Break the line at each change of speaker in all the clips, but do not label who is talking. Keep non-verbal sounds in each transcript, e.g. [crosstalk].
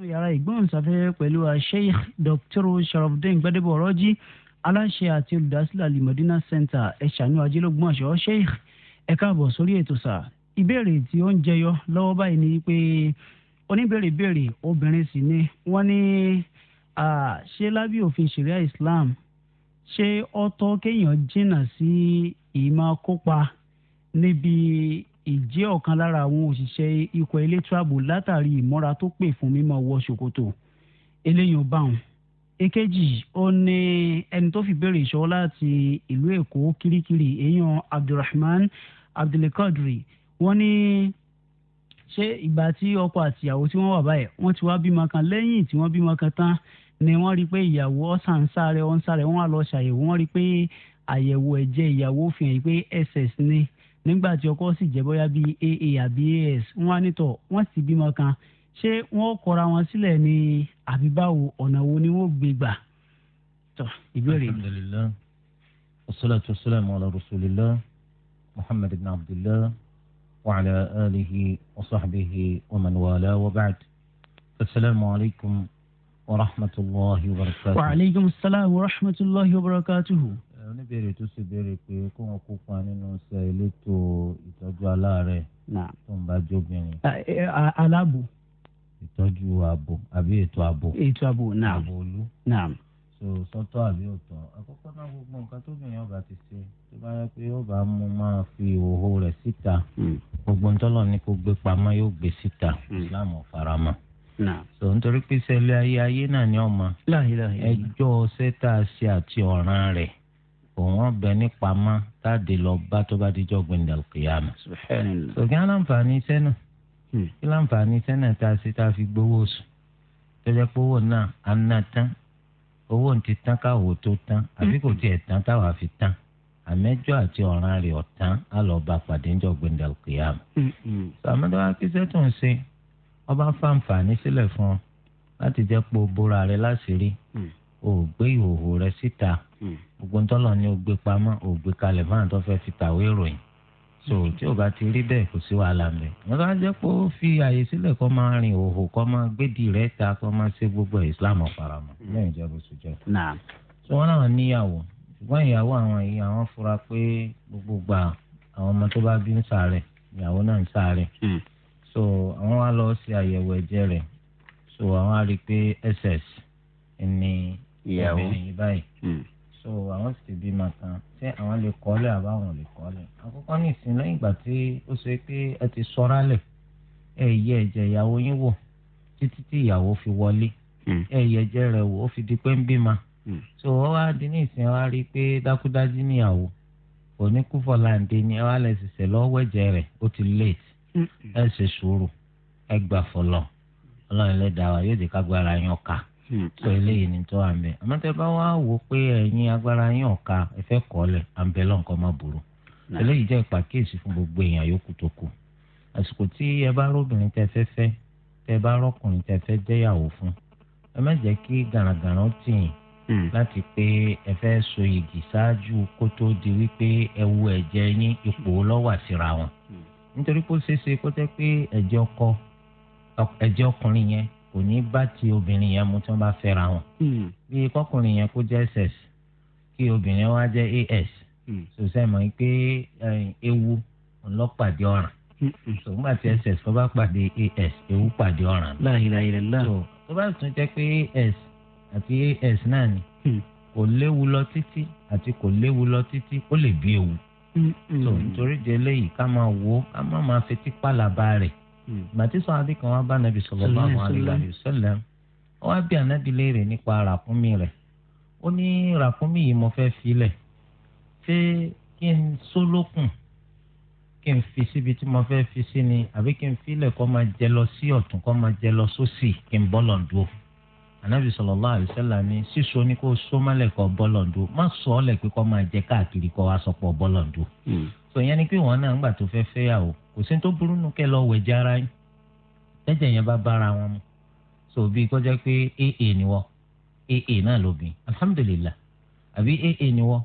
yàrá ìgbóhùnsáfẹ́fẹ́ pẹ̀lú Sheikh Dr. sharafdin gbadebo ọ̀rọ́jì aláṣẹ àti olùdásílẹ̀ alimọ̀dínà center ẹ̀ṣánú ajẹ́lógúnmọ̀ṣọ́ sheikh ẹ káàbọ̀ sórí ètò sà ìbéèrè tí ó ń jẹyọ lọ́wọ́ báyìí ni pé oníbèrè béèrè obìnrin sì ni wọ́n ní ṣé lábẹ́ òfin sharia islam ṣé ó tọ́ kéèyàn jìnnà sí ìmọ̀ kópa níbi ìjẹ́ ọ̀kan lára àwọn òṣìṣẹ́ ikọ̀ ilé tíráàbù látàrí ìmọ́ra tó pè fún mímọ́ wọ ṣòkòtò eléyìí ò bá wọn èkejì ó ní ẹni tó fi béèrè ìṣọwọ́ láti ìlú èkó kirikiri èèyàn abdulrahman abdulkadri wọ́n ní ṣé ìgbà tí ọkọ àti ìyàwó tí wọ́n wà báyìí wọ́n ti wá bímọ kan lẹ́yìn tí wọ́n bímọ kan tán ni wọ́n rí i pé ìyàwó ọ̀sán ń sáré ọ̀n sáré wọ́n á lọ ṣàyẹ̀wò wọ́n rí i pé àyẹ̀wò ẹ̀jẹ̀ ìyàwó fi hàn pé ss ni nígbà tí ọkọ sì jẹ́ bóyá bíi aa àbí as wọ́n á nítọ̀ wọ́n sì bímọ kan ṣé wọ́n kọra wọn sílẹ̀ ní àbí báwo ọ̀nà wo ni wọ́n gbé gbà tọ́ ìbéèrè.
alhamdulilayi wasalaatu wasalaamu ala rasulillah muhammad ibn abdullah wa ala alihi wa sahbihi wa man wala wa ba'd asalaamu alaykum wa rahmatulahi wa barakatuhu.
wa aleykum salaam wa rahmatulahi wa barakatuhu.
أه، oníbèrè tó sì béèrè pé kó wọn kópa nínú iṣẹ́ elétò ìtọ́jú aláàárẹ̀
Naam.
tó ń bá jóbìnrin
Ẹ- ẹ- a- aláàbò
ìtọ́jú ààbò àbí ètò ààbò
ètò ààbò náà
ààbò olú
náà
so sọ́tọ̀ àbí ọ̀tọ̀ àkọ́kọ́ náà gbogbo nǹkan tóbìnrin ọba ti ṣe tó bá yẹ pé ọba mú máa fi ìhòòhò rẹ̀ síta gbogbo ntọ́lọ̀ ní kó gbé pamọ́ yóò gbé síta
Mm.
Islam ò faramọ́
náà.
so nítorí pé sẹ́lẹ̀ ayé ayé náà ni ọmọ
láhìlá
ẹjọ́ sẹ́tà ṣe àti ọ̀ràn rẹ̀ òun ọbẹ̀ nípamọ́ táàdì lọ bá tó bá dijọ́ gbẹ̀ndàlùkìyàmù
subhanallah.
òkè aláǹfààní iṣẹ́ náà
Hmm.
kí láǹfààní iṣẹ́ náà tá a ṣe tá a fi gbowó oṣù tó jẹ́ pé owó náà á ná tán owó ń ti tán káwó tó tán àbí kò tiẹ̀ tán táwa fi tán àmẹ́jọ́ àti ọ̀ràn rẹ̀ ọ̀tán á lọ bá pàdé ńjọ́ gbẹ̀ndà òkèèyàn.
Mm, mm.
sàmúdàwá kíṣẹ́ tó ń ṣe ọba fàǹfààní sílẹ̀ fún ọ láti jẹ́ pé o bóra rẹ láṣìírí
Hmm.
o ò gbé ìhòòhò rẹ síta
Mm.
gbogbo ńtọ́lọ̀ ni o gbé pamọ́ o gbé kalẹ̀ fún àwọn tó fẹ́ fi kàwé ìròyìn so tí o bá ti rí bẹ́ẹ̀ kò sí wàhálà ń bẹ. wọ́n bá jẹ́ pé ó fi àyè sílẹ̀ kó máa rìn òhò kó máa gbédìí rẹ̀ ta kó máa ṣe gbogbo ẹ̀ Islam ọ̀faramọ́ lẹ́yìn ìjọba oṣù jẹ́.
Naam.
so wọ́n náà níyàwó ṣùgbọ́n ìyàwó àwọn yìí àwọn fura pé gbogbo gbà àwọn ọmọ tó bá bí ń ṣàárẹ̀ ìyàwó náà ń ṣàárẹ̀
Mm.
so àwọn wa lọ ṣe àyẹ̀wò ẹ̀jẹ̀ rẹ̀ so àwọn á rí i pé ss ni
Ìyàwó.
obìnrin yìí báyìí
Mm.
so àwọn sì ti bímọ kan ṣé àwọn lè kọ́lẹ̀ àbáwọn ò lè kọ́lẹ̀ àkọ́kọ́ ní ìsìn lẹ́yìn ìgbà tí ó ṣe pé ẹ ti sọ́ra lẹ̀ ẹ yẹ ẹ̀jẹ̀ ìyàwó yín wò títí tí ìyàwó fi wọlé
Mm.
ẹ yẹ ẹ̀jẹ̀ rẹ̀ wò ó fi di pé ń bímọ
Mm.
so wọ́n wá di ní ìsìn wá rí i pé dákúdájú níyàwó òní kúfọ̀ láǹdé ni ẹ wá lẹ̀ ṣẹ̀ṣẹ̀ lọ́wọ́ ẹ̀jẹ̀ rẹ̀ ó ti late
Mm.
ẹ ṣe sùúrù ẹ gbà fọlọ́ ọlọ́run ẹlẹ́dàá wa yóò dé kágbára yín ọ̀ka
Mm.
sọ eléyìí ní tó àmì àmọ́ tẹ́ bá wá wò ó pé ẹ̀yin agbára yín ọ̀ka ẹ fẹ́ kọ́lẹ̀ àǹbẹ̀lọ́ nǹkan má burú
Náà.
eléyìí jẹ́ ìpàkíyèsí fún gbogbo èèyàn yòókù tó kù àsìkò tí ẹ bá róbìnrin tẹ́ fẹ́ fẹ́ tẹ́ bá rọ́kùnrin tẹ́ fẹ́ jẹ́yàwó fún ẹ má jẹ́ kí gàràgàrà tì yín
Mm.
láti pé ẹ fẹ́ so igi ṣáájú kó tó di wípé ẹ wo ẹ̀jẹ̀ yín ipò lọ́wọ́ síra wọn
Mm.
nítorí pé ó ṣeé ṣe kó jẹ́ pé ẹ̀jẹ̀ ọkọ ẹ̀jẹ̀ ọkùnrin yẹn kò ní bá ti obìnrin yẹn mu tí wọ́n bá fẹ́ra wọn
Mm.
bí kọkùnrin yẹn kó jẹ́ ss kí obìnrin wa jẹ́ as
Mm.
sòsẹ́ mọ̀ pé eh, ewu ńlọ́pàdé ọ̀ràn
Mm. Mm.
sòmùgbà tí ss tó bá pàdé as ewu pàdé ọ̀ràn
La ilaha illallah.
So, tó bá tún jẹ́ pé as àti as náà ni
Mm.
kò léwu lọ títí àti kò léwu lọ títí ó lè bí ewu
Mm. Mm.
so nítorí jẹ́ eléyìí ká máa wo ká má máa fetí pàlàbà rẹ̀
Mm.
gbàtí sọ adé kan wá bá nàbì sallallahu alaihi wa sallam ó wá bí ànábì léèrè nípa ràkúnmí rẹ̀ ó ní ràkúnmí yìí mo fẹ́ filẹ̀ ṣé kí n sólókùn kí n fi síbi tí mo fẹ́ fi sí ni àbí kí n filẹ̀ kó máa jẹ lọ sí ọ̀tún kó máa jẹ lọ sósì kí n bọ́lọ̀ ń dúró ànábì sallallahu alaihi wa sallam ní sísọ ní kó só mọ́lẹ̀ kó bọ́lọ̀ ń dúró má sọ ọ́ lẹ̀ pé kó máa jẹ káàkiri kó wá sọpọ̀ bọ́lọ̀ ń dúró
Mm.
sọ yẹn ni pé wọn náà ńgbà tó fẹ́ fẹ́yàwó kò sí ní tó burú nù kẹ́ lọ wẹ̀jẹ̀ ara yín tẹ́jẹ̀ yẹn bá bára wọn mu sọ bíi kọjá pé aa ni wọ aa náà lóbìn alhamdulillah àbí aa ni wọ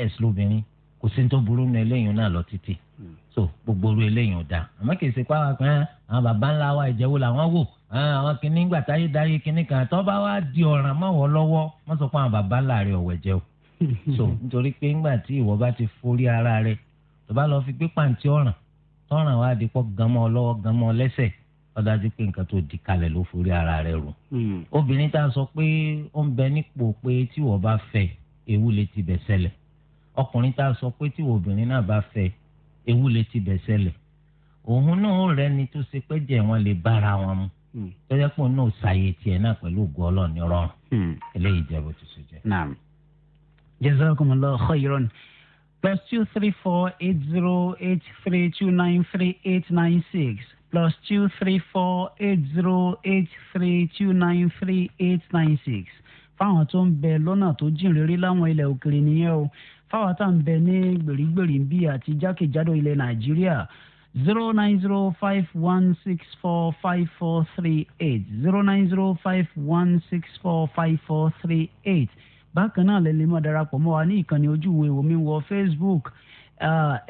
as lóbìnrin kò sí ní tó burú nù eléyìí náà lọ títì
Mm.
so gbogbo oru eléyìí ò dáa àmọ́ kì í ṣe pé àwọn kan àwọn bàbá ńlá wa ìjẹ́wó làwọn wò àwọn kìnnì ń gbà táyé dáyé kìnnì kan tó bá wá di ọ̀ràn mọ́wọ́ lọ́wọ́ wọ́n sọ pé àwọn bàbá láàrin ọ̀wẹ̀ jẹ́ o so
Mm-hmm.
nítorí pé ńgbà tí ìwọ bá ti forí ara rẹ tó bá lọ fi gbé pàǹtí ọ̀ràn tọ́ràn wá di pọ́ gánmọ́ ọlọ́wọ́ gánmọ́ lẹ́sẹ̀ ó dájú pé nǹkan tó di kalẹ̀ ló forí ara rẹ rò obìnrin tá a sọ pé ó ń bẹ nípò pé tí ìwọ bá fẹ́ ewu lè ti bẹ̀ ṣẹlẹ̀ ọkùnrin tá a sọ pé tí ìwọ obìnrin náà bá fẹ́ ewu lè ti bẹ̀ ṣẹlẹ̀ òun náà rẹ ni tó ṣe pé jẹ wọn lè bára wọn mu tọ́jà pé òun náà ṣàyè tiẹ̀ náà pẹ̀lú ògùn ọlọ́ọ̀ni rọrùn eléyìí jẹ́ bó ti ṣe jẹ́.
naam jazakumullahu khairan plus two three four eight zero eight three two nine three eight nine six plus two three four eight zero eight three two nine three eight nine six fáwọn tó ń bẹ lọ́nà tó jìn réré láwọn ilẹ̀ òkèèrè nìyẹn o fáwọn tá à ń bẹ ní gbèrígbèrí bíi àti jákèjádò ilẹ̀ nàìjíríà zero nine zero five one six four five four three eight zero nine zero five one six four five four three eight bákan náà lẹ́lẹ́ máa darapọ̀ mọ́ wa ní ìkànnì ojú ìwé omi wọ facebook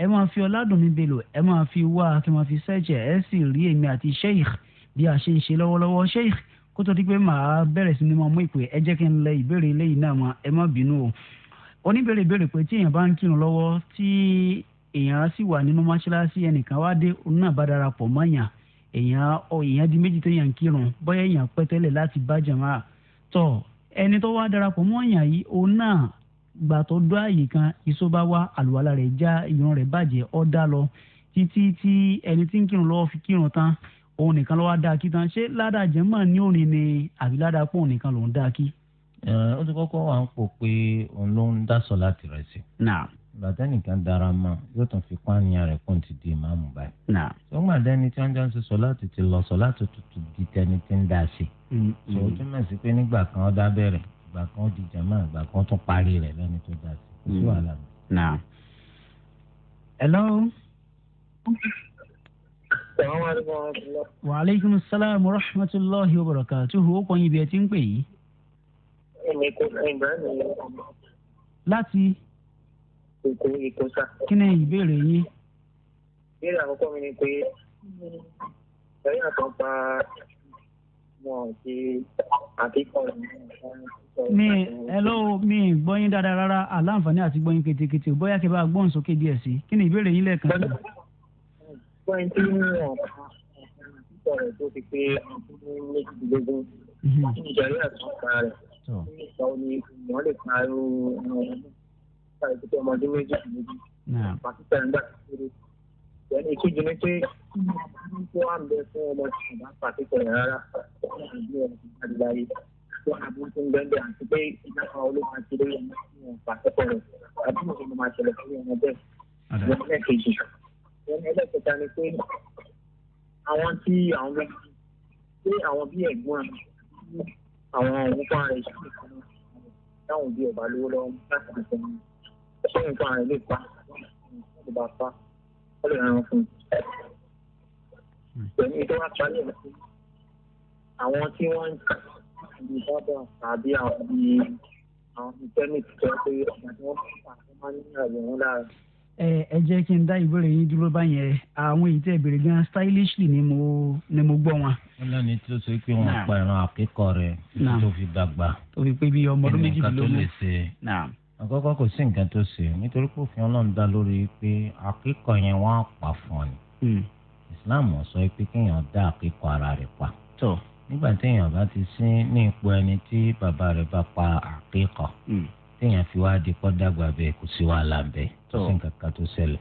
ẹ máa fi ọ̀làdùnmí belò ẹ máa fi wá kí n máa fi ṣẹ́ẹ̀jẹ̀ ẹ sì rí èmi àti sheikh bí a ṣe ń ṣe lọ́wọ́lọ́wọ́ sheikh kó tó di pé màá bẹ̀rẹ̀ sí ni máa mú ìpè ẹ jẹ́ kí n lẹ ìbéèrè eléyìí náà mà ẹ má bínú o oníbèrè ìbéèrè pé tí èèyàn bá ń kírun lọ́wọ́ tí èèyàn sì wà nínú mọ́ṣáláṣí ẹnìkan wá dé òun náà bá darapọ̀ mọ́ èèyàn èèyàn ọ èèyàn di méjì téèyàn kírun bóyá èèyàn pẹ́ tẹ́lẹ̀ láti bá jàmá tọ̀ ẹni tó wá darapọ̀ mọ́ èèyàn yìí òun náà gbà tó dó àyè kan iṣó bá wá àlùwalá rẹ̀ já ìran rẹ̀ bàjẹ́ ọ́ dá lọ títí tí ẹni tí ń kírun lọ́wọ́ fi kírun tán òun nìkan ló wá dá kí tán ṣé ládàá jẹ́mọ̀ ní òní ni àbí ládàá pọ̀ nìkan lòún dá kí.
ó ti kọ́kọ́ wà ń pò pé òun ló ń dá sọ láti rẹ̀ sí.
náà
gbàdánìkan dára mọ yóò tún fi pààyàn rẹ kún ti di ìmáàmù báyìí. tó ń gbàdánì tí wọ́n jọ ń ṣe sọ́láàtì ti lọ sọ́láàtì tuntun di tẹni tí ń dá sí.
Mm,
sọ
Mm-hmm.
ó túmọ̀ sí pé nígbà kan ó dá bẹ̀rẹ̀ ìgbà kan ó di jàmá ìgbà kan tún parí rẹ̀ lẹ́ni tó dá sí. kò sí
Mm-hmm.
wàhálà
mi. hello. wa aleykum salaam wa rahmatulahi wa barakatuhu ó kọ́ yín bí ẹ ti ń pè yìí.
èmi kò fẹ́ ìbáraẹni lọ́wọ́.
láti
èkó èkó sá.
kí ni ìbéèrè yín.
ìbéèrè àkọ́kọ́ mi ni pé lẹ́yìn àtọ́ pa wọn àti àkíkọ́
mi hello mi gbọ́ yín dáadáa rárá aláǹfààní àti gbọ́ yín ketekete bóyá kí n bá gbọ́n sókè díẹ̀ sí kí ni ìbéèrè yín lẹ́ẹ̀kan sí.
wọ́n ti ń wọ̀n àkíkọ́ rẹ̀ tó ti pé ọdún méjìdínlógún ìjọba àti ọ̀pá rẹ̀ nípa omi ìmọ̀ lè parọ́ ọ̀hún ta ìdíje ọmọdé méjì méjì pàṣípà ń gbà kiri ìyẹn ìkejì ni pé kó wà ń bẹ fún ọmọ ìṣẹ̀dá pàṣípà rẹ̀ rárá wọ́n á bí ọmọ ìṣẹ̀dá di láyé wọ́n á bí wọ́n ti ń gbẹ́ndẹ̀ àti pé ìdáhà olóòwò àti ilé ọmọ ìṣẹ̀dá pàṣípà rẹ̀ àbí mo ti mọ máa ṣẹlẹ̀ fún ọmọ bẹ́ẹ̀ ìyẹn ẹlẹ́kejì ìyẹn ẹlẹ́kẹta ni pé àwọn tí àwọn méjì pé àwọn bí ẹ̀gbọ́n àwọn òun fún ara ìṣẹ̀lẹ̀ kan táwọn òbí ọ̀bà lówó lọ́wọ́ láti àtẹ̀ wọn ṣé nǹkan àrùn lè pa ló bá pa ó lè ràn fún un. pẹ̀lú tó wá parí ẹ̀ sí àwọn tí wọ́n ń bí bábà tàbí àwọn bí àwọn ìtẹ́nìtì tó pé ọ̀gá tí wọ́n pa tó máa ń ní àwòrán lára.
ẹ ẹ jẹ́ kí n dá ìbéèrè yín dúró báyẹn àwọn èyí tẹ́ ìbéèrè gan stylishly ni mo ni mo gbọ́ wọn.
wọ́n lẹ́ni tí ó ṣe pé wọ́n pa ìran àkẹ́kọ̀ọ́ rẹ̀ tó fi dàgbà.
tó fi pé bí ọmọ ọdún méjìlélógún.
ẹnì kan tó lè ṣe àkọ́kọ́ kò sí nǹkan tó ṣe nítorí pé òfin ọlọ́run dá lórí pé àkíkọ̀ yẹn wọ́n á pa fún ọ
Hmm.
ni islam sọ pé kéèyàn dá àkíkọ̀ ara rẹ̀ pa nígbà téèyàn bá ti sí ní ipò ẹni tí bàbá rẹ̀ bá pa àkíkọ̀
hmm.
téèyàn fi wá di kọ́ dàgbà bẹ́ẹ̀ kò sí wàhálà bẹ́ẹ̀ kò sí nǹkan kan tó ṣẹlẹ̀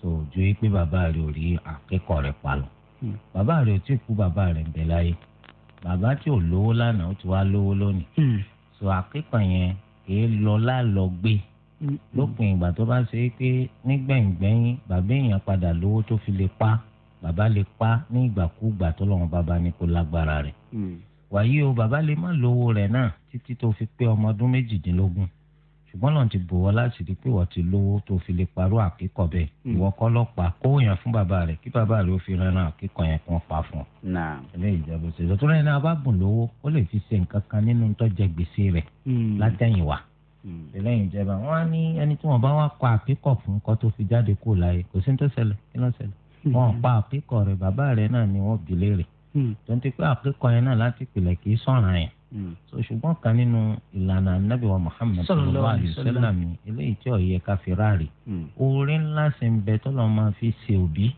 so ju yìí pé bàbá rẹ̀ ò rí àkíkọ̀ rẹ̀ pa lọ
Hmm.
bàbá rẹ̀ ò tí ì kú bàbá rẹ̀ ń bẹ láyé bàbá tí ò lówó lánàá ó ti wá lówó lónìí
Hmm.
so àkíkọ̀ yẹn kìí lọ lálọgbé
Hmm.
lópin ìgbà tó bá ṣe é pé nígbẹ̀yìngbẹ̀yìn bàbá èèyàn padà lówó tó fi lè pa bàbá lè pa ní ìgbàkúgbà tó lọ́wọ́n bàbá ní kó lágbára rẹ̀
Hmm.
wàyí o bàbá lè má lówó rẹ̀ náà títí tó fi pé ọmọ ọdún méjìdínlógún ṣùgbọ́n lọ́n ti bò wọ́n láti rí pé wọ́n ti lówó tó fi lè parọ́ àkíkọ̀ bẹ́ẹ̀ ìwọ kọ́ lọ pa kó yàn fún bàbá rẹ̀ kí bàbá rẹ̀ ó fi ran àkíkọ̀ yẹn kan pa fún un. eléyìí jẹ́ bó ṣe sọ tó lẹ́yìn náà bá bùn lówó ó lè fi ṣe nǹkan kan nínú tọ́jẹ gbèsè rẹ̀ látẹ̀yìnwá. eléyìí jẹ́ bá wọ́n á ní ẹni tí wọ́n bá wá kọ àkíkọ̀ fún kọ́ tó fi Hmm. jáde kúrò láyé kò sí ní tó ṣẹlẹ̀ kí ló ṣẹlẹ̀ wọ́n pa àkíkọ̀ rẹ̀ bàbá rẹ̀ náà ni wọ́n bìlẹ̀ rẹ̀
Hmm.
tó ń ti pé àkókò yẹn náà láti pìlẹ̀ kì í sọ̀ràn yẹn
Hmm.
so ṣùgbọ́n kan nínú ìlànà anábì wa muhammed sallallahu alayhi wa sallam eléyìí tí ọ̀yẹ́ ká fi ráàrí
Hmm.
oore ńlá sì ń bẹ tọ́lọ́ máa fi ṣe òbí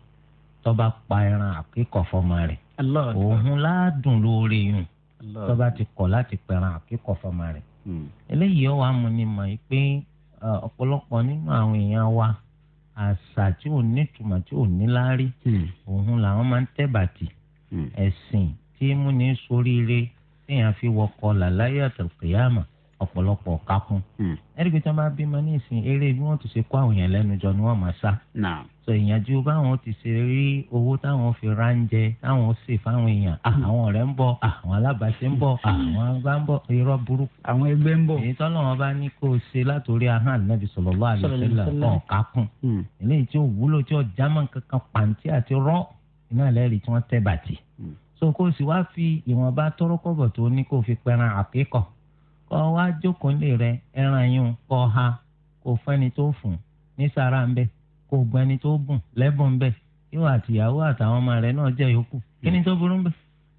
tọ́ba pa ẹran àkíkọ̀ fọmọ rẹ̀ òun ládùn lóore yùn tọ́ba ti kọ̀ láti pẹran àkíkọ̀ fọmọ rẹ̀ eléyìí ó wàá mú ni mọ̀ yìí pé ọ̀pọ̀lọpọ̀ nínú àwọn èèyàn wa àṣà tí ò ní ìtumọ̀ tí ò ní láárí
Hmm.
òun làwọn máa ń tẹ́ bàtì ẹ̀sìn tí múni ṣoríire téèyàn fi wọkọ làlàyé àtàlùkìyàmà ọ̀pọ̀lọpọ̀ kakún.
Hmm.
ẹ̀ríkì tí wọ́n bá bímọ ní ìsìn eré bí wọ́n ti ṣe kó àwọn èèyàn lẹ́nu jọ ni wọ́n máa sá. sọ ìyànjú báwọn ti ṣe rí owó táwọn fi ránjẹ táwọn ṣe fáwọn èèyàn àwọn ọ̀rẹ́ ń bọ̀ àwọn alábàáṣe ń bọ̀ àwọn agbá ń bọ̀ irọ́ burúkú.
àwọn ẹgbẹ́ ń bọ̀.
èyí tọ́lọ́ wọn bá ní kó o ṣe látòrí ahán nàbì sallallahu alaihi wasallam ọ̀ kakún. eléyìí tí ò wúlò tí ò jámọ́ kankan pàǹtí àti rọ́ iná ẹlẹ́rìí tí wọ́n tẹ́ bàtì
嗯
so kó o sì wá fi ìwọ̀nba tọ́rọ́kọ̀bọ̀ tó ní kó o fi pẹran àkíkọ̀ kó o wá jókòó lè rẹ ẹran yín kó o ha kó o fẹ́ni tó fún ní sàrà ń bẹ kó o gbọ́ ẹni tó bùn lẹ́bùn ń bẹ ìwọ àtìyàwó àtàwọn ọmọ rẹ náà jẹ́ yòókù kí ni tó burú ń bẹ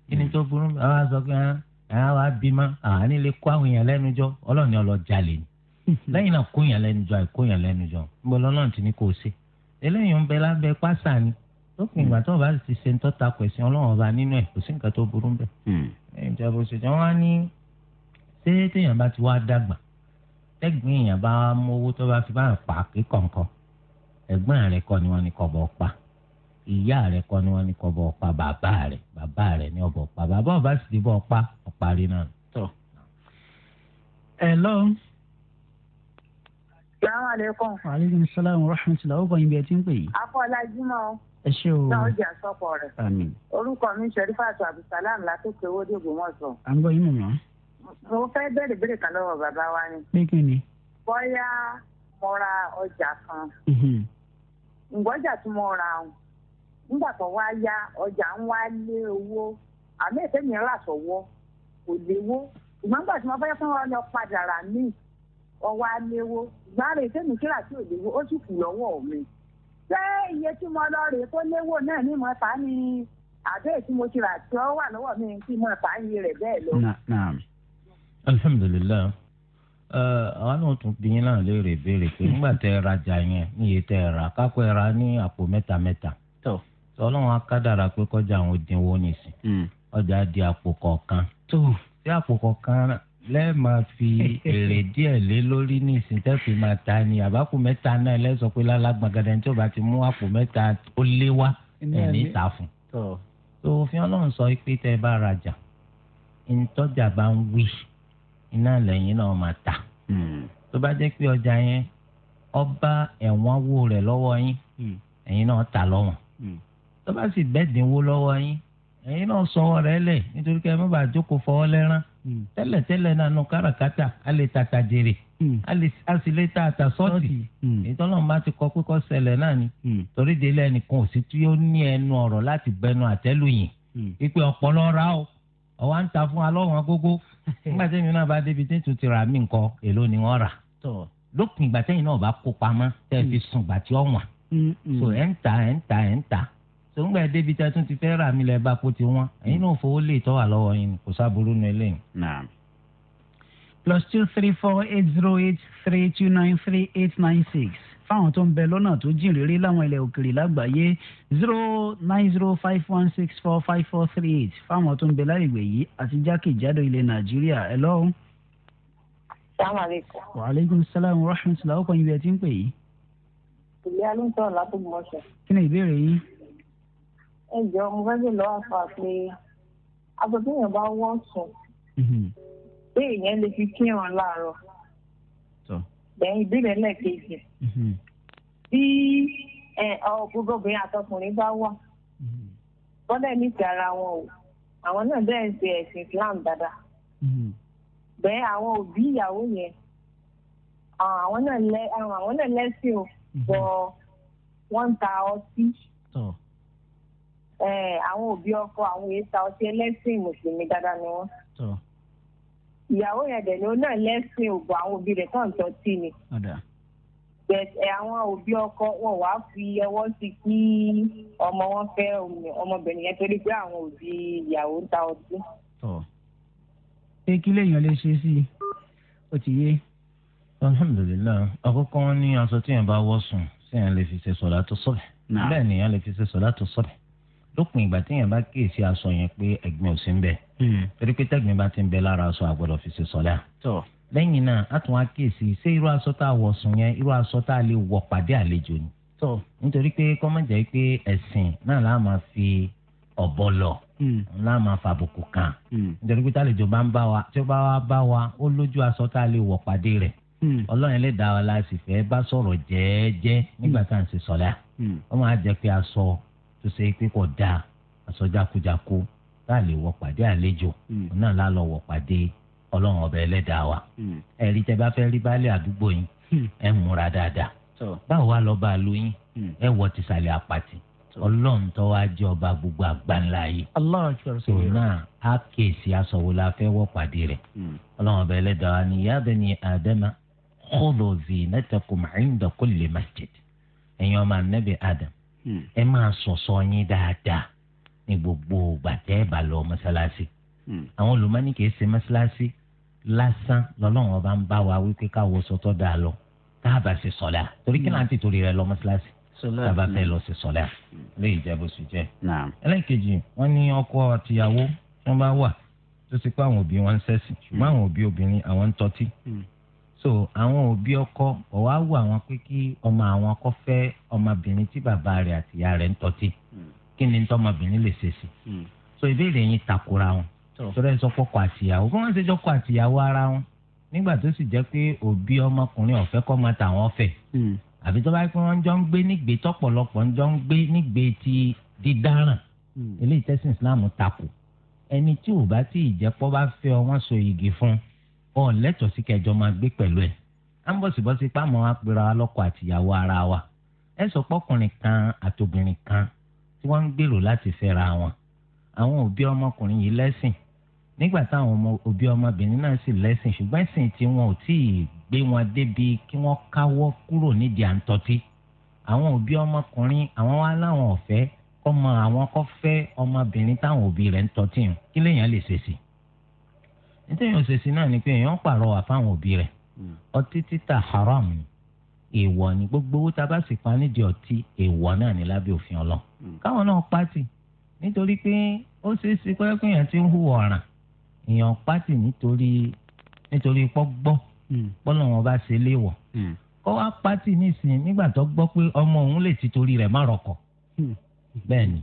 kí ni tó burú ń bẹ àwa sọ pé àwa wa bímọ àwa ní lè kó àwọn èèyàn lẹ́nu jọ ọlọ́ọ̀ni ọlọ́jalè ni lẹ́yìn náà kó èèyàn lẹ́nu jọ àìkó èèyàn lẹ́nu jọ ń bọ́ lọ́nà tí ni kò ṣe eléyìí ń bẹ lábẹ́ pásá ni lópin ìgbà tó o bá ti ṣe ń tọ́ta pẹ̀sìn ọlọ́run ọba nínú ẹ̀ kò sí nǹkan tó burú
嗯
bẹ́ẹ̀. ìjọba òṣèjọ wa ní ṣé téèyàn bá ti wá dàgbà tẹ́gbìn èèyàn bá mú owó tó bá fi bá pa kíkọ̀ǹkan ẹ̀gbọ́n rẹ̀ kọ́ ni wọ́n ní kọ̀bọ̀ pa ìyá rẹ̀ kọ́ ni wọ́n ní kọ̀bọ̀ pa bàbá rẹ̀ bàbá rẹ̀ ní ọ̀bọ̀ pa bàbá ọba sì ti bọ̀ pa ọ̀parí náà.
ẹ lọ́wọ́.
Assalamu alaikum.
Wa alaikum salaam wa rahmatullahi wa barakatuh.
Afọlájúmọ́
ẹ ṣe o.
náà ó jẹ àsọpọ rẹ.
àmín.
orúkọ mi Sherifat Abdulsalam látòkè owó dìbò wọn sọ.
à ń gbọ́ yín mọ̀mọ́.
mo fẹ́ bẹ̀rẹ̀ bẹ̀rẹ̀ kan lọ́wọ́ bàbá wa ni.
pé kí ni.
bóyá mo ra ọjà kan.
嗯
ǹgbọ́jà tí mo ra ọ̀hún. nígbà tó wá yá ọjà ń wá lé owó àmì ètè mi rà sọ̀wọ́ kò léwó. ìgbà nígbà tí mo fẹ́ fún wọn lọ padà rà mí ọwọ́ á léwó. ìgbà rẹ̀ ètè mi kíra sí òléwó ó sì kù lọ́wọ́ mi ṣé iye tí mo lọ rè kó léwò náà ní mo fà á ní àbẹ́ tí mo ti rà tí ó wà lọ́wọ́ mi tí mo fà á yí rẹ̀ bẹ́ẹ̀ lọ.
alhamdulilayi Eh, àwọn náà tún bí yín náà léèrè béèrè pé nígbà tẹ ẹ rajà yẹn ní iye tẹ ẹ rà kápẹ́ ẹ rà ní àpò mẹ́ta mẹ́ta ọlọ́run akádàrà pé kọjá àwọn òdiwọ̀n nìsín
嗯
ọjà di àpò kọ̀ọ̀kan tí àpò kọ̀ọ̀kan lẹ́ẹ̀ máa fi èrè díẹ̀ lé lórí ní ìsìntẹ́fì máa ta ni àbákù mẹ́ta náà lẹ́sọ̀ pé lálágbàgàdà tí ó bá ti mú àpò mẹ́ta ó lé wá ẹ̀ní ìta fún. tó òfin ọlọ́run sọ pé tẹ́ ẹ bá rajà ìtọ́jà bá ń wí iná lẹ́yìn náà máa tà.
嗯
tó bá jẹ́ pé ọjà yẹn ọba ẹ̀wọ̀n wo rẹ̀ lọ́wọ́ yín ẹ̀yin náà tà lọ́wọ́n.
嗯
tó bá sì bẹ́ẹ̀dínwó lọ́wọ́ yín ẹ̀yin náà sọwọ́ rẹ̀ lẹ̀ nítorí kẹ́ ẹ má bàa jókòó fọwọ́ lẹ́rán tẹ́lẹ̀tẹ́lẹ̀ nanu káràkátà a lè tata jèrè
嗯
a sì lè ta ata sọ́ọ̀tì ìtọ́nà máa ti kọ pípọ́ sẹlẹ̀ náà ni torí délé ẹnìkan ò sí tí ó ní ẹnu ọ̀rọ̀ láti bẹnu àtẹ́lù yìí
嗯
wípé ọ̀pọ̀lọ́ ra o ọ̀wá ń ta fún alọ́wọ́n gógó [laughs] nígbà tẹ́yìn náà bá débi tí tún ti rà mí nǹkan èló ni wọ́n rà lópin ìgbà tẹ́yìn náà bá kó pamọ́ tẹ́ fi sùn gbà tí ọ̀wọ́n
嗯
so ẹ̀ ń ta ẹ̀ ń ta ẹ̀ ń ta sọ̀ngbà ẹ̀ débi tí a tún ti fẹ́ rà mí lẹ̀ bá kó ti wọ́n ẹ̀yin náà fowó lè tọ́ wà lọ́wọ́ yín kò sábúrú nu eléyìí.
plus two three four eight zero eight three two nine three eight nine six fáwọn tó ń bẹ lọ́nà tó jìn réré láwọn ilẹ̀ òkèèrè lágbàáyé zero nine zero five one six four five four three eight fáwọn tó ń bẹ láìgbè yìí àti jákèjádò ilẹ̀ nàìjíríà ẹ lọ́wọ́.
sàmàlẹ́kọ̀.
wàhálẹ́gùn sálàmù rahmatulah ọkọ̀ ibi ẹ̀ ti ń pè yìí.
ìyá ló ń sọ̀rọ̀ látọ̀gbọ̀n ọ̀sẹ̀.
kí ni ìbéèrè yín
ẹ jọ mo fẹ́ lè lọ àfa pé aṣọ tí èèyàn bá wọ̀ sùn pé èèyàn lè fi kírun láàárọ̀ lẹ́yìn ìbéèrè lẹ́ẹ̀kejì bí gbogbo obìnrin àtọkùnrin bá wà bọ́dẹ̀ ní ti ara wọn o àwọn náà bẹ́ẹ̀ ń ṣe ẹ̀sìn Islam dáadáa bẹ́ẹ̀ àwọn òbí ìyàwó yẹn àwọn náà lẹ́sìn o bọ̀ wọ́n ń ta ọtí àwọn òbí ọkọ àwọn èèta ọtí ẹlẹ́sìn mùsùlùmí dáadáa ni wọ́n. ìyàwó yẹn dẹ̀ ni ó náà lẹ́sìn ògbó àwọn òbí rẹ̀ tó ń tọ́tí ni. bẹ̀ẹ̀ eh, àwọn òbí ọkọ wọn wá fi ọwọ́ sí kí ọmọ wọn fẹ́ ọmọbìnrin yẹn torí pé àwọn òbí ìyàwó ń ta ọdún.
pé kí lèèyàn lè ṣe sí i ó ti yé.
alhamdulilayi àkọ́kọ́ wọn ní aṣọ tí yẹn bá wọ̀ sùn sí yẹn lè fi ṣe sọlá tó sọbẹ bẹ́ẹ̀ ni yẹn lè fi ṣe sọlá tó sọbẹ lópin ìgbà tí yẹn bá kíyèsí aṣọ yẹn pé ẹ̀gbin ò sí ń bẹ torí pé tẹ̀gbin bá ti ń bẹ lára aṣọ àgbọ́dọ̀ fi ṣe sọlá lẹ́yìn náà a tún wá kíyèsí ṣé irú aṣọ tá a wọ̀ sùn yẹn irú aṣọ tá a lè wọ̀ pàdé àlejò ni. tó nítorí pé kọ́mọ̀jẹ́ pé ẹ̀sìn náà láà máa fi ọ̀bọ lọ láà máa fa àbùkù kan nítorí pé tálejò bá ń bá wa tí ó bá wá bá wa ó lójú aṣọ tá a lè wọ̀ pàdé rẹ̀ ọlọ́run lè dá wa láti fẹ́ bá sọ̀rọ̀ jẹ́ẹ́jẹ́ nígbà tá à ń ṣe sọ̀lá ó máa jẹ́ pé aṣọ tó ṣe pé kò dáa aṣọ jákujàku tá a lè wọ̀ pàdé àlejò
Hmm.
náà lá lọ wọ̀ pàdé ọlọ́run ọba ẹlẹ́dàá wa
Hmm.
ẹ̀rí tẹ bá fẹ́ rí baálé àdúgbò yín ẹ múra dáadáa báwo wá lọ́ba àlọ́ yín ẹ wọ tìsàlẹ̀ àpàtì ọlọ́run tó wá jẹ́ ọba gbogbo àgbáńlá yìí tòun
Hmm.
náà á kèsì aṣọwó la fẹ́ wọ́ pàdé rẹ̀ ọlọ́run ọba ẹlẹ́dàá wa ni ya bani adama khudhu zinatakum inda kulli masjid ẹ̀yin ọmọ anabi adam
Hmm.
ẹ máa ṣọ̀ṣọ́ yín dáadáa ní gbogbo gbàtẹ́ ìbàlọ́ mọ́sálásí
Hmm.
àwọn olùmọ́ni kì í ṣe mọ́ṣáláṣí lásán lọ́lọ́run ọba ń bá wa wípé ká wọ sọtọ́ dáa lọ tá a bá ṣe sọ̀lá torí kí láǹtì torí rẹ lọ mọ́ṣáláṣí
Hmm.
tá a bá fẹ́ lọ ṣe sọ̀lá lè jẹ́ bó ṣe jẹ́. ẹlẹ́ẹ̀kejì wọ́n ní ọkọ àtìyàwó tí wọ́n bá wà tó ti pé àwọn òbí wọn ń ṣẹ̀sìn ṣùgbọ́n àwọn òbí obìnrin àwọn ń tọ́tí.
Hmm.
so àwọn òbí ọkọ ọ̀wá wù àwọn pé kí ọmọ àwọn kó fẹ́ ọmọbìnrin tí bàbá rẹ̀ àtìyá rẹ̀ ń tọ́tí
Hmm.
kí ni tọmọbìnrin lè ṣe sí. so ìbéèrè yín takora wọn sọ̀rọ̀ ẹ̀ sọ kọ́kọ́ àtìyàwó kí wọ́n ṣe jọ kọ́ àtìyàwó ara wọn nígbà tó sì jẹ́ pé òbí ọmọkùnrin ọ̀fẹ́ kọ́ máa tàwọn ọ̀fẹ́
Hmm.
àbí tó bá pẹ́ wọ́n jọ ń gbé nígbé tọ́pọ̀lọpọ̀ ń jọ ń gbé nígbé ti dídáràn
Hmm.
Hmm. eléyìí tẹ́sán Islam takò ẹni tí ò bá tí ìjẹ́pọ̀ bá fẹ́ ọ wọ́n so igi fún ọ lẹ́tọ̀ọ́ sí kẹjọ máa gbé pẹ̀lú ẹ̀ á ń bọ̀sibọ́sí pàmò wa pera wa lọ́kọ àtìyàwó ara wa ẹ sọ pọ́kùnrin kan àtòbìnrin kan tí wọ́n ń gbèrò láti fẹ́ra wọn àwọn òbí ọmọkùnrin yìí lẹ́sìn nígbà táwọn ọmọ òbí ọmọbìnrin náà sì lẹ́sìn ṣùgbọ́n ẹ̀sìn tí wọn ò tí ì gbé wọn débi kí wọ́n káwọ́ kúrò nídìí à ń tọ́tí. àwọn òbí ọmọkùnrin àwọn wá láwọn ọ̀fẹ́ ọmọ àwọn kọ́ fẹ́ ọmọbìnrin táwọn òbí rẹ̀ ń tọ́tí hàn kí lèèyàn lè ṣèṣì. nítorí òṣèṣì náà ni pé èèyàn pàrọwà fáwọn òbí rẹ̀
Hmm.
ọtí títà haram ni èèwọ̀ ni gbogbo owó tá a bá sì pa nídìí ọtí èèwọ̀ náà ni lábẹ́ òfin ọlọ́
Hmm.
káwọn náà pátì nítorí pé ó ṣeé ṣe pé kéèyàn ti ń hùwà ọ̀ràn èèyàn pátì nítorí nítorí pọ́ gbọ́
Hmm.
bọ́lá wọn bá ṣe léwọ̀ kọ́ wá pátì nísìnyí nígbà tó gbọ́ pé ọmọ òun lè ti torí rẹ̀ má rọkọ̀ bẹ́ẹ̀ ni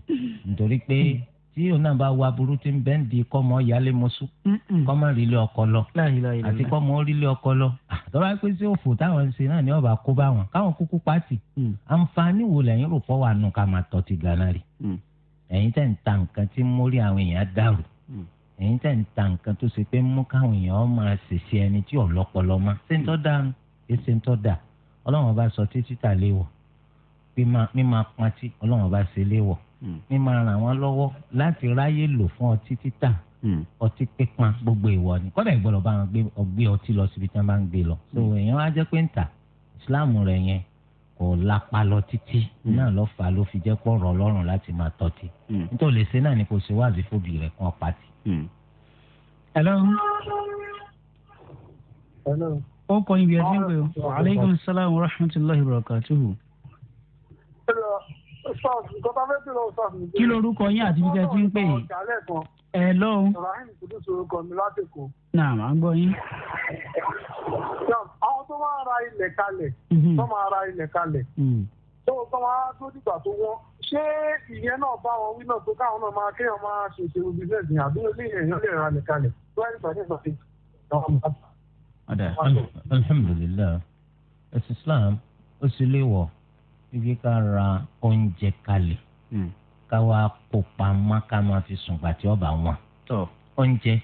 nítorí pé tí òun náà bá wa burú tí ń bẹ́ẹ̀ ń di kọ́mọ ìyálé mọ́sú
Hmm.
kọ́mọ rílé ọkọ lọ àti kọ́mọ rílé ọkọ lọ àtọ́wá pé sí òfò táwọn ń ṣe náà ni ọba kó bá wọn káwọn kúkú pátì
Hmm.
àǹfààní wo lẹ́yìn rò pọ̀ wà nù ká máa tọ́ ti gánà rí
Hmm.
ẹ̀yin tẹ̀ ń ta nǹkan tí mórí àwọn èèyàn dàrú
Hmm.
ẹ̀yin tẹ̀ ń ta nǹkan tó ṣe pé mú káwọn èèyàn máa ṣèṣe ẹni tí ọ̀lọ́pọ̀lọ́ mọ́ ṣé ń tọ́ da ẹ ṣe ń tọ́ da ọlọ́run bá sọ títí tà léwọ̀ mímá pátí ọlọ́run bá ṣe léwọ̀
Hmm.
mímá ràn wọ́n lọ́wọ́ láti ráyè lò fún ọtí títà
Hmm.
ọtí pípa gbogbo ìwọ ni kọ́dà ìgbọ́dọ̀ bá wọn gbé ọtí lọ síbi tí wọ́n bá ń gbé lọ so èèyàn á jẹ́ pé ń ta ìsìláàmù rẹ̀ yẹn kò lápá lọ títí náà lọ fà ló fi jẹ́ pọ̀ rọ̀ lọ́rùn láti máa tọ́tí
Hmm.
nítorí lè ṣe náà ni kò ṣe wáàzì fóbi rẹ̀ kan pàtì.
hello.
hello.
ó kọ ibi ẹtí pé aleykum salaam wa rahmatulahi wa barakatuhu. kí lorúkọ yín àti bíi ẹtí ń pè yín. ẹ lọ́hùn.
ibrahim kùdùsù orúkọ mi láti kù.
náà màá gbọ́ yín
àwọn tó máa ra ilẹ̀ kalẹ̀
Hmm.
tó máa ra ilẹ̀ kalẹ̀ tó tó máa tó dìgbà tó wọ́n ṣé ìyẹn náà bá wọn wí náà tó káwọn náà máa kéèyàn máa ṣe ìṣèlú bísíǹsì ní àbí ilé èèyàn lè ra ilẹ̀ kalẹ̀ tó wáyé ìgbà nígbà tí àwọn máa bá.
ọ̀dà alhamdulilayi ẹ̀sìn islam ó sì lè wọ̀ ibi ká ra oúnjẹ kalẹ̀
Hmm.
ká wá kó pamọ́ ká máa fi sùn gbàtí ọba wọn oúnjẹ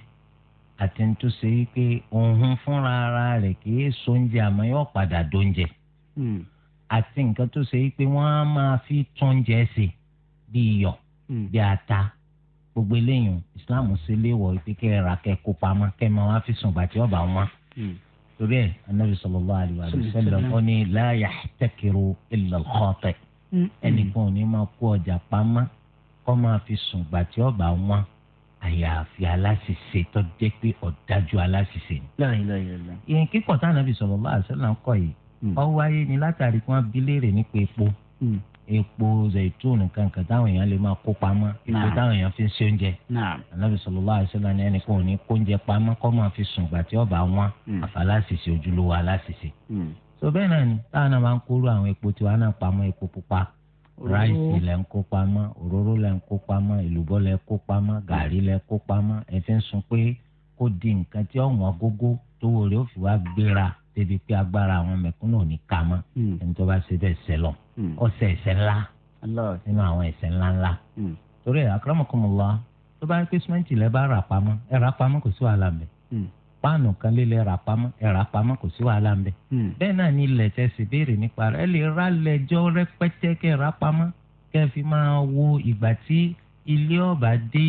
àti ń tó ṣe yí pé òun fúnra ara rẹ̀ kì í sóúnjẹ àmọ́ yóò padà dóúnjẹ. àti nǹkan tó ṣe yí pé wọ́n á máa fi tóúnjẹ ṣe bí iyọ̀ bí ata gbogbo eléyìí islam ṣe léwọ̀ pé kẹ́ ẹ ra kẹ́ ẹ kó pamọ́ kẹ́ ẹ máa wá fi sùn bàtí ọ̀bà wọn. torí ẹ anabi sallallahu alaihi wa sallam ó ní la yahtakiru illa al-khati ẹnìkan ò ní máa kó ọjà pamọ́ kó máa fi sùn gbà tí ọba wọn àyàfi aláṣìṣe tó jẹ́ pé ọ̀dájú aláṣìṣe
ni.
ìyẹn kíkọ̀ tá anabi sallallahu alaihi wa sallam kọ̀ yìí ó wáyé ni látàrí kí wọ́n bi léèrè nípa epo epo zaitun kankan táwọn èèyàn lè máa kó pamọ́ epo táwọn èèyàn fi ń ṣe oúnjẹ anabi sallallahu alaihi wasallam ni ẹnìkan ò ní kó oúnjẹ pamọ́ kó máa fi sùn gbàtí ọba wọn àfàlásìsì ojúlówó aláṣìṣì. so bẹ́ẹ̀ náà ni táwọn náà máa ń kóró àwọn epo tí wọ́n náà pamọ́ epo pupa ráìsì lẹ ń kó pamọ́ òróró lẹ ń kó pamọ́ èlùbọ́ lẹ kó pamọ́ gàrí lẹ kó pamọ́ ẹ fi ń sun pé kó di nǹkan tí ọ̀wọ́n gógó tówó rẹ̀ ó fi wá gbéra débi pé agbára àwọn mẹ̀kúnnù ò ní ka mọ́ ẹni tó bá ṣe bẹ́ẹ̀ ṣẹ lọ ọsẹ ẹ̀ṣẹ̀ ńlá nínú àwọn ẹ̀ṣẹ̀ ńlá ńlá torí akramakumullah tó bá pé símẹ́ǹtì lẹ bá rà pamọ́ ẹ rà pamọ́ kò sí wàhálà ńbẹ̀ páànù kan lé lẹ rà pamọ́ ẹ rà pamọ́ kò sí wàhálà ńbẹ̀ bẹ́ẹ̀ náà ni ilẹ̀ tẹ́ sì béèrè nípa rẹ̀ ẹ lè rà lẹ́jọ́ rẹpẹtẹ kẹ́ rà pamọ́ kẹ́ fi máa wo ìgbà tí ilé ọ̀bà dé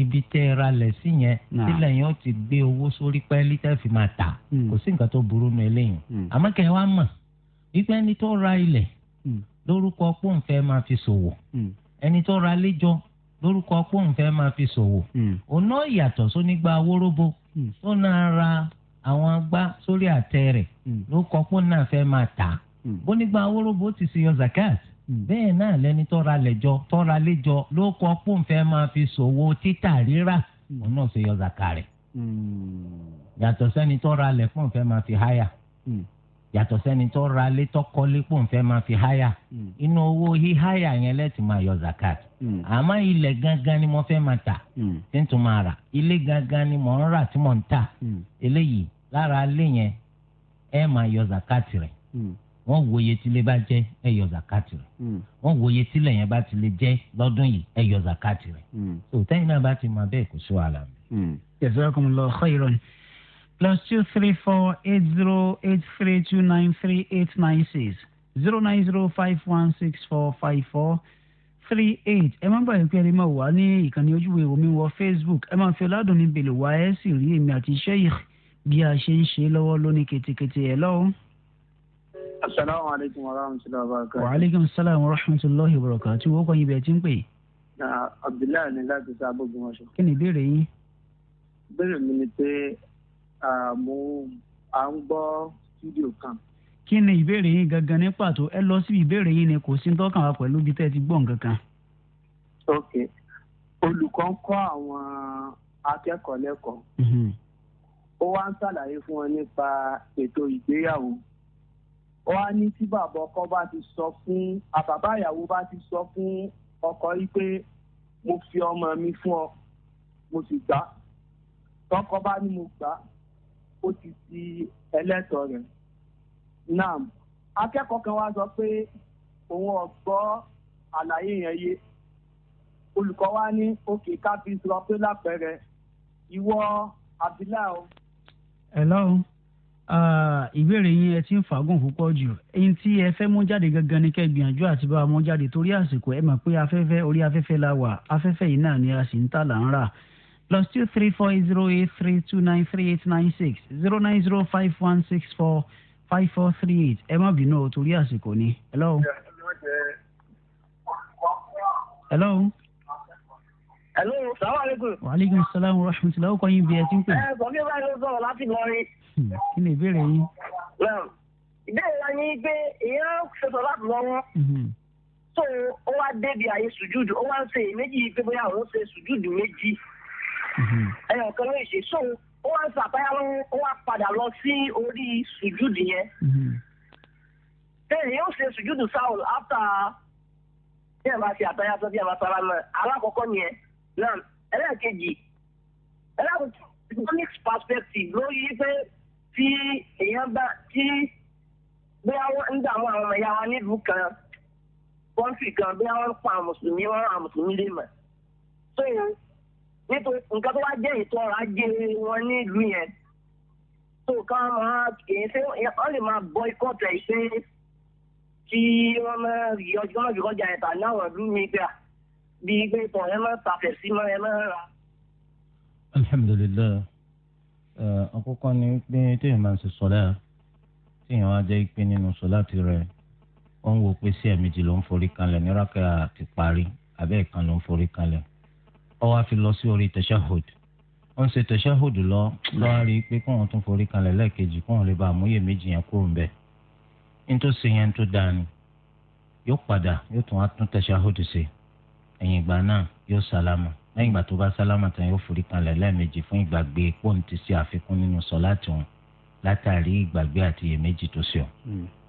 ibi tẹ́ ẹ ra lẹ̀ sí yẹn sílẹ̀ yẹn ó ti gbé owó sórí pẹ́ẹ́lí tẹ́ fi máa tà kò sí nǹkan tó burú nu eléyìí àmọ́ kẹ́ ẹ wá mọ̀ wípé ẹni tó ra ilẹ̀ lórúkọ pòǹfẹ́ máa fi ṣòwò ẹni tó ra léjọ lórúkọ pòǹfẹ́ máa fi ṣòwò ọ̀nà ìyàtọ̀ sónígbà wóróbo tó náà ra àwọn agbá sórí àtẹ rẹ̀ lórúkọ pòǹfẹ́ fẹ́ máa tà bónígbà wóróbo ti ṣe yọ zakat bẹ́ẹ̀ náà lẹni tọ́ra lẹ́jọ́ tọ́ra lẹ́jọ́ ló kọ́ pòǹfẹ́ máa fi ṣòwò títà rírà òun náà ṣe yọ zaka rẹ̀. yàtọ̀ sẹ́ni tọ́ra lẹ̀ pòǹfẹ́ máa fi háyà yàtọ̀ sẹ́ni tọ́ra lé tọ́kọ́lé pòǹfẹ́ máa fi háyà inú owó híháyà yẹn lẹ́tì máa yọ zaka rẹ̀. àmọ́ ilẹ̀ gangan ni mo fẹ́ máa tà tí n tún máa rà ilé gangan ni mo ń rà tí mo ń tà eléyìí lára ilé yẹn ẹ máa yọ zaka rẹ̀ wọ́n wo iye tí ilé bá jẹ́ ẹ yọ zakati rẹ̀ wọ́n wo iye tí ilẹ̀ yẹn bá ti lè jẹ́ lọ́dún yìí ẹ yọ zakati rẹ̀ so tẹ́yìn náà bá ti máa bẹ́ẹ̀ kó sí wàhálà mi.
jazakumullahu khairan plus two three four eight zero eight three two nine three eight nine six zero nine zero five one six four five four three eight ẹ má bàa pé ẹ lè máa wà ní ìkànnì ojúwe omi wọ facebook ẹ máa fi ọládùn ní bèlè wá ẹ sì rí èmi àti sheikh bí a ṣe ń ṣe lọ́wọ́ lónìí ketekete ẹ̀ lọ́wọ́
asalaamu aleykum wa rahmatulahi wa barakatu.
wa aleykum salaam wa rahmatulahi wa barakatu wo kàn yín bẹ́ẹ̀ tí ń pè.
na abdullahi ni láti sá gbogbo wọn sọ.
kí ni ìbéèrè yín.
ìbéèrè mi ni pé mo à ń gbọ́ fídíò kan.
kí ni ìbéèrè yín gangan ní pàtó ẹ lọ síbi ìbéèrè yín ni kò sí ń tọ́kàn wá pẹ̀lú bí tẹ́ ẹ ti gbọ́ nǹkan kan.
ok olùkọ́ ń kọ́ àwọn akẹ́kọ̀ọ́ lẹ́kọ̀ọ́ ó wá ń ṣàlàyé fún wọn nípa ètò ìgbéyàwó wá ní tí bàbá ọkọ bá ti sọ fún àbàbá ìyàwó bá ti sọ fún ọkọ yìí pé mo fi ọmọ mi fún ọ mo sì gbà tọkọ bá ní mo gbà ó ti di ẹlẹ́tọ̀ rẹ̀ náà akẹ́kọ̀ọ́ kan wá sọ pé òun ọ̀gbọ́ àlàyé yẹn yé olùkọ́ wá ní òkè kábí sọ pé lápẹẹrẹ ìwọ abilà o.
hello Ah, ìbéèrè yín ẹ ti ń fàágùn púpọ̀ jù ẹyin tí ẹ fẹ́ mú jáde gangan ni kẹ́ gbìyànjú àti bá mú jáde torí àsìkò ẹ mọ̀ pé afẹ́fẹ́ orí afẹ́fẹ́ la wà afẹ́fẹ́ yìí náà ni a sì ń tà là ń rà plus two three four zero eight three two nine three eight nine six zero nine zero five one six four five four three eight ẹ má bínú o torí àsìkò ni. hello. hello.
hello salaamaleykum.
waaleykum salaam wa rahmatulah ó kọ́ yín bí ẹ ti ń pè. Hmm.
ẹ kò ní báyìí ló sọ̀rọ̀ láti lọrin
kí ni ìbéèrè yín.
ìbéèrè wa ni pé èèyàn ṣoṣo láti lọ́wọ́
Hmm.
tó ó wá débi àyè sùjúdù ó wá ń ṣe èméjì pé bóyá òun ṣe sùjúdù méjì
Hmm.
ẹyọ kan ló ṣe so ó wá ń ṣàpáyà lọ́wọ́ ó wá padà lọ sí orí sùjúdù yẹn
Hmm.
tẹ́lẹ̀ yóò ṣe sùjúdù sáwùl áfta bí ẹ̀ bá ṣe àtàyà tó bí ẹ̀ bá sára náà alákọ̀ọ́kọ́ nìyẹn náà ẹlẹ́ẹ̀kejì ẹlẹ́ẹ̀kejì economic perspective lórí pé tí èèyàn bá tí bí àwọn ń dààmú àwọn ọmọ ìyá wa nílùú kan kọ́ńtì kan bí wọ́n ń pa àwọn mùsùlùmí wọ́n ń àwọn mùsùlùmí lè mọ̀. so nítorí nǹkan tó wá jẹ́ ètò ọrọ̀ ajé wọn nílùú yẹn tó ká máa èyí ṣé wọ́n lè máa bọ́ ikọ́ tẹ̀ ṣe kí wọ́n máa rí ọjọ́ náà yọ̀ọ́ jà ẹ̀ta náà wọ̀n lú mi gbà bí gbé tọ̀ ẹ máa tàfẹ̀ sí mọ́ ẹ máa rà.
alhamdulilayi. Eh, àkọ́kọ́ ni pé téèyàn máa ń ṣe sọ́lá téèyàn á jẹ́ pé nínú sọ́lá ti rẹ̀ ó ń wo pé sí ẹ̀mejì ló ń forí kanlẹ̀ ní rákà ti parí abẹ́ ìkan ló ń forí kanlẹ̀ ó wá fi lọ sí orí tashahhud ó ń ṣe tashahhud lọ lọ́wọ́ rí i pé kóun tún forí kanlẹ̀ lẹ́ẹ̀kejì kóun lè ba àmúyẹ méjì yẹn kúrò ńbẹ̀ nítòsí yẹn tó dáa ni yóò padà yóò tún á tún tashahhud ṣe ẹ̀yìn ìgbà náà yóò sálámà lẹ́yìn ìgbà tó bá sálámà tán yóò forí kanlẹ̀ lẹ́ẹ̀mejì fún ìgbàgbé pọ́ùn ti ṣe àfikún nínú sọ́láàtì wọn látàrí ìgbàgbé àti iyèméjì tó ṣe ọ́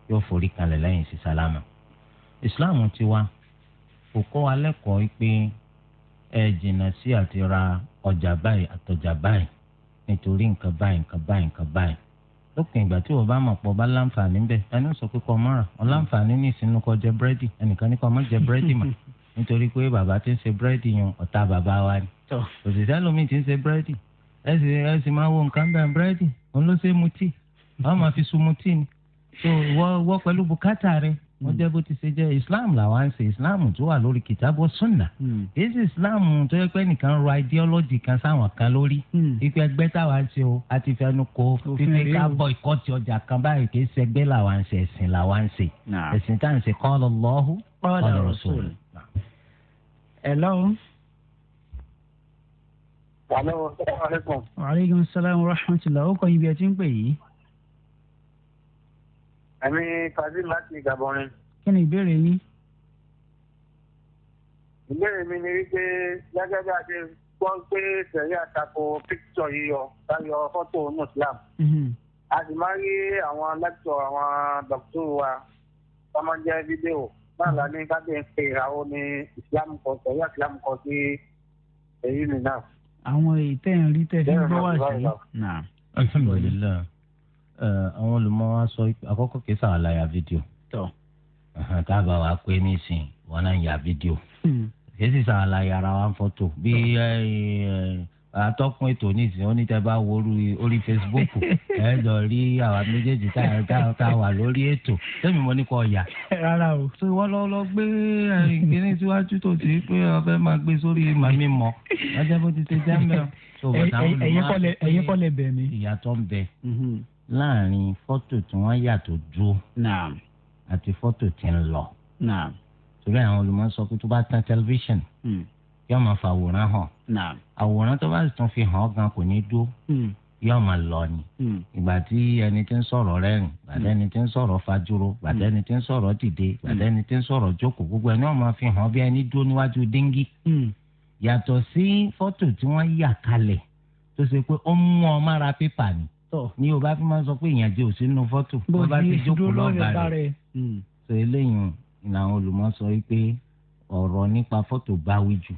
yóò forí kanlẹ̀ lẹ́yìn sí sálámà. ìsìláàmù ti wá kò kọ́ wa lẹ́kọ̀ọ́ pé ẹ jìnnà sí àti ra ọjà báyìí àtọjà báyìí nítorí nǹkan báyìí nǹkan báyìí nǹkan báyìí lópin ìgbà tí wọ́n bá mọ̀ pọ̀ bá láǹfààní bẹ́ẹ̀ ẹni sọ pé kọ́ mọ́ra ọ̀ láǹfààní ní ìsinú kọ́ jẹ búrẹ́dì ẹnìkan ní kọ́ mọ́ jẹ búrẹ́dì mọ́ nítorí pé bàbá tí ń ṣe búrẹ́dì yan ọ̀tá bàbá wa ni. òṣìṣẹ́ lomi ti ń ṣe búrẹ́dì ẹ sì ẹ sì máa wo nǹkan bẹ́ẹ̀ búrẹ́dì òun ló ṣe mu tíì àwọn máa fi sun mu tíì ni. tó wọ wọ pẹ̀lú bùkátà rẹ wọ́n jẹ́ bó ti ṣe jẹ́ islam làwọn ń ṣe islam tó wà lórí kìtàbọ̀ sunna
Hmm.
èyí sì islam tó yẹ pé nìkan rọ ideology kan sáwọn kan lórí
Hmm.
ipe ẹgbẹ́ táwa ń ṣe o a ti fẹnu ko fífi ká boycott ọjà kan báyìí kì í ṣe ẹgbẹ́ làwọn ń ṣe ẹ̀sìn làwọn ń ṣe ẹ̀sìn tá à ń ṣe qala Allahu qala Rasul.
Hello.
Hello, alaikum.
Wa alaikum salam wa rahmatullah. Ó kọ́ ibi ẹ ti ń pè yìí.
Ẹ̀mí Kazeem láti Gabon ni.
Kí ni ìbéèrè yín?
Ìbéèrè mi ni wípé gẹ́gẹ́ bí a ṣe gbọ́ pé tẹ̀lé àtakò píkítọ̀ yíyọ táyọ fọ́tò Muslim. A sì máa ń rí àwọn lẹ́kítọ̀ àwọn dọ̀kítọ̀ wa tó máa ń jẹ́ fídíò náà la ní ká tẹ̀ ń pe ìràwọ̀ ní ìsìlámù kan sọ yá ìsìlámù kan sí èyí mi náà.
àwọn ìtẹ́ ń rí tẹ́ fi ń gbọ́ wà sí.
alhamdulilayi Eh, àwọn olùmọ̀ wa sọ àkọ́kọ́ kìí sàn àlàyé fídíò tá a bá wa pé nísìn wọn náà yà fídíò kìí sì sàn àlàyé ara wa fọ́tò bí atọ́kùn ètò nísìnyí oníta bá wo orí
[laughs]
Facebook ẹ lọ rí àwa méjèèjì tá a wà lórí ètò sẹ́mi mo ní kọ́ ọ̀yà.
[laughs] rárá o.
ṣé wọ́n lọ lọ gbé ìgbéni síwájú tó ti pé ọbẹ̀ máa gbé sórí màmí mọ́ ọjọ́ bó ti ṣe jẹ́ mẹ́rin.
[laughs] ẹ̀yin kọ́ lẹ bẹ̀ mí.
ìyàtọ̀ ń bẹ láàrin fọ́tò tí wọ́n yà tó dúró àti fọ́tò tí ń lọ. torí àwọn olùmọ̀ sọ pé tó bá tán tẹlifíṣàn yóò máa fa àwòrán hàn àwòrán tó bá sì tún fi hàn ọ́ gan kò ní dúró
Hmm.
yóò máa lọ ni ìgbà tí ẹni tí ń sọ̀rọ̀ rẹ́rìn gbàtẹ́ ẹni tí ń sọ̀rọ̀ fajúro gbàtẹ́ ẹni tí ń sọ̀rọ̀ dìde gbàtẹ́ ẹni tí ń sọ̀rọ̀ jókòó gbogbo ẹni wọ́n máa fi hàn bí ẹni dúró níwájú dengue
Hmm.
yàtọ̀ sí fọ́tò tí wọ́n yà kalẹ̀ tó ṣe pé ó mú ọ mára pépà ni ni o bá fi máa sọ pé ìyànjẹ ò sínú fọ́tò bó bá ti jókòó lọ́ọ̀gá rẹ̀ Hmm. sọ eléyìí ìlànà olùmọ̀ sọ wípé ọ̀rọ̀ nípa fọ́tò báwí jù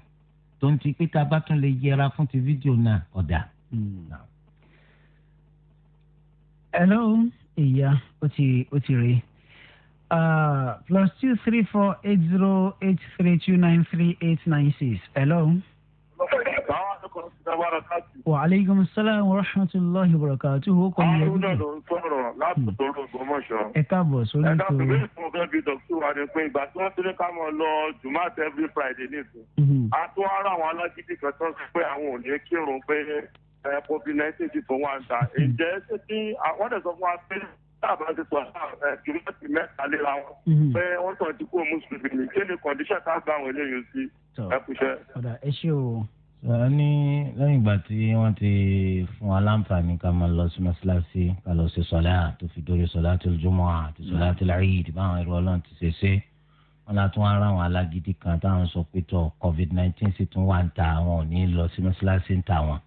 tó ń ti pé tá a bá tún lè yẹra fún ti fídíò náà ọ̀dà. Hmm.
hello ìyá ó ti ó ti rè plus two three four eight zero eight three two nine three eight nine six hello. wa aleykum salaam wa rahmatulahi wa barakatuhu.
àwọn ọ̀dọ́ ló ń sọ̀rọ̀ láti tóró gbọmọṣọ.
ẹ káàbọ̀ sórí
ètò. ẹ dábìlì fún ọgá bíi dọkítù wa ni pé ìgbà tí wọ́n ti ní ká máa lọ jumat every friday nìkan.
Mhm.
a tún ara àwọn alágídí kan tó sọ pé àwọn ò ní kírun pé covid nineteen ti fún wa ń ta. ǹjẹ́ ṣé kí wọ́n dẹ̀ sọ fún wa pé táàbà ti sọ jumat mẹ́ta léra wọn.
Mhm.
pé wọ́n sọ ti kó mùsùlùmí ní kí ni condition tá a gba àwọn eléyìí sí. ẹ kúṣẹ́.
ọ̀dà ẹ ṣé o
sọ̀rọ̀ ní lẹ́yìn ìgbà tí wọ́n ti fún wa láǹfààní ká máa lọ sí mọ́ṣáláṣí ká lọ sí sọ̀lá tó fi dórí sọ̀lá tó jùmọ̀ àti sọ̀lá tó láyé ìdìbò àwọn ẹ̀rọ ọlọ́run ti ṣe ṣe wọn la tún ara àwọn alágídí kan táwọn sọ pé tọ covid nineteen sì tún wà ń ta àwọn ò ní lọ sí mọ́ṣáláṣí ń ta wọn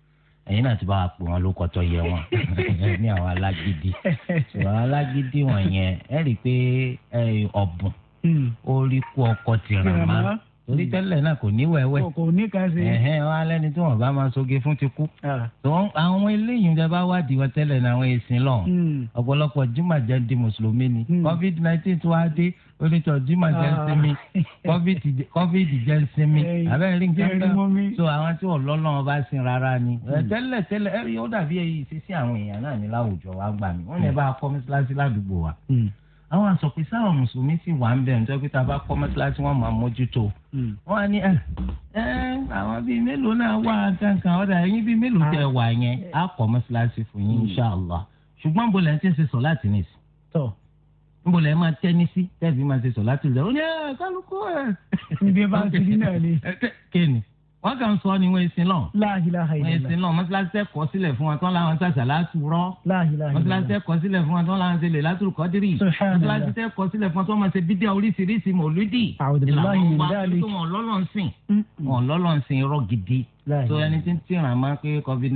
ẹ̀yin náà ti bá wa pè wọ́n ló kọ́tọ́ yẹ wọn ní àwọn alágídí sọ̀rọ̀ alágídí wọ̀nyẹn ẹ̀ rí i pé ọ̀bùn
Hmm.
ó rí kú ọkọ̀ tìrànmá torí tẹ́lẹ̀ náà kò ní wẹ́wẹ́.
kò ní ká ṣe. Ah.
ẹ̀hẹ́n wọn alẹ́ ni tí wọ́n bá máa soge fún ti kú. àwọn eléyìí jẹ́ bá wádìí wọn tẹ́lẹ̀ náà àwọn èsì
Hmm.
lọ́hùn. ọ̀pọ̀lọpọ̀ jimajẹ́ di mùsùlùmí ni. covid nineteen tó wá dé onítọ̀ jimajẹ́ ń sinmi covid jẹ́ ń sinmi. abẹ́rẹ́ rí nǹkan kan so àwọn tí wọ́n lọ́lọ́wọ́ bá sin rárá ni. tẹ́lẹ̀ tẹ́lẹ̀ ẹ̀rí
Hmm.
ó dàbí ìṣesí àwọn èèyàn náà ní láwùjọ wa gbà mí. wọ́n àwọn àsọpẹ sáwọn mùsùlùmí sì wà ń bẹ ǹjọ pé tá a bá kọ́ mọ́tíláṣí wọn máa mójútó
Hmm.
wọn á ní ẹ ẹ àwọn bíi mélòó náà wà kankan ọ̀dà ẹ̀yin bíi mélòó tẹ wà yẹn
Ah.
á kọ́ mọ́tíláṣí fún
Hmm.
yín inṣàlá ṣùgbọ́n bó lẹ́ ń ṣe ń ṣe sọ láti nìsí níbo lẹ́ẹ̀ máa tẹ́ni sí tẹ́ẹ̀fì máa ṣe sọ láti lẹ̀ ó ní ẹ kálukú ẹ.
ibi bá ti rí náà
[laughs]
ni.
kéènì wọn kàn sọ ni wọn èsì náà.
láàhìláhà ìlànà
wọn èsì náà mọ́tíláṣí ẹ̀kọ́ sílẹ̀ fún wa tán láwọn sàṣà látúrọ́.
láàhìláhà ìlànà
mọ́tíláṣí ẹ̀kọ́ sílẹ̀ fún wa tán láwọn ṣẹlẹ̀ látúrú kọ́dírì. mọ́tíláṣí ẹ̀kọ́ sílẹ̀ fún wa tán máa ṣe bídíà oríṣiríṣi mọ̀lúdì.
Hmm.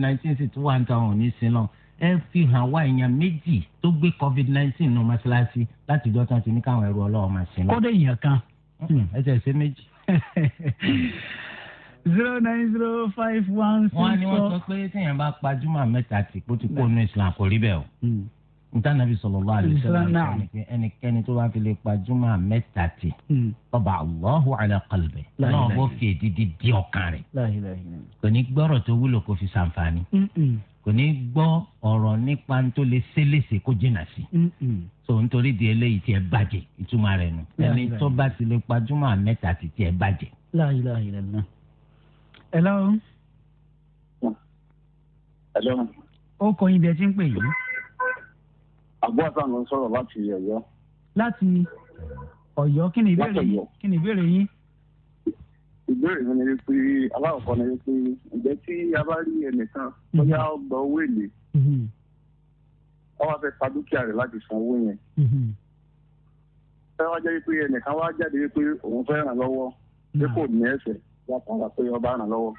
Mm. àwọn ẹ fi hàn wá èèyàn méjì tó gbé covid nineteen nù mọ́ṣáláṣí láti ìjọ tán ti ní káwọn ẹrù ọlọ́wọ́ máa ṣe.
kọ́dọ̀ èèyàn kan.
Mm, ẹ jẹ́ ṣe méjì.
[laughs] zero nine zero five one six four.
wọ́n ní wọ́n sọ pé téèyàn bá pa júmọ̀ mẹ́ta tí kò ti kó nu islam kò rí bẹ́ẹ̀ o. ntànàbí sallallahu alaihi wasallam ẹnikẹ́ni tó bá fi lè pa júmọ̀ mẹ́ta tí ọba allahu ala qalbi náà bó fi èdìdì di ọkàn rẹ̀ kò ní gbọ́rọ̀ tó wúlò kó fi ṣàǹfààní kò ní gbọ́ ọ̀rọ̀ nípa tó lè ṣẹlẹ̀ṣẹ̀ kó jìnnà sí. so nítorí di eléyìí tí ẹ bàjẹ́ ìtumọ̀ rẹ̀ nù. ẹni tó bá ti lè pajúmọ̀ mẹ́ta ti tí ẹ bàjẹ́.
láàyè láàyè rẹ̀ náà. ẹ lọ́wọ́.
ẹ lọ́wọ́.
ó kọ ibi ẹ ti ń pè yìí.
àbúrò àtàwọn ló ń sọ̀rọ̀ láti ọ̀yọ́.
láti ọ̀yọ́ kí ni ìbéèrè yín kí ni ìbéèrè yín.
ìbéèrè mi ni pé aláwọ̀kọ́ ni pé ìgbẹ́ tí a bá rí ẹnìkan bóyá ó gba owó èlé
Mm-hmm.
wọ́n wá fẹ́ pa dúkìá rẹ̀ láti san owó yẹn.
Mm-hmm.
fẹ́ wá jẹ́ pé ẹnìkan wá jáde pé òun fẹ́ ràn lọ́wọ́ pé kò ní ẹ̀ṣẹ̀ látara pé ọba ràn lọ́wọ́.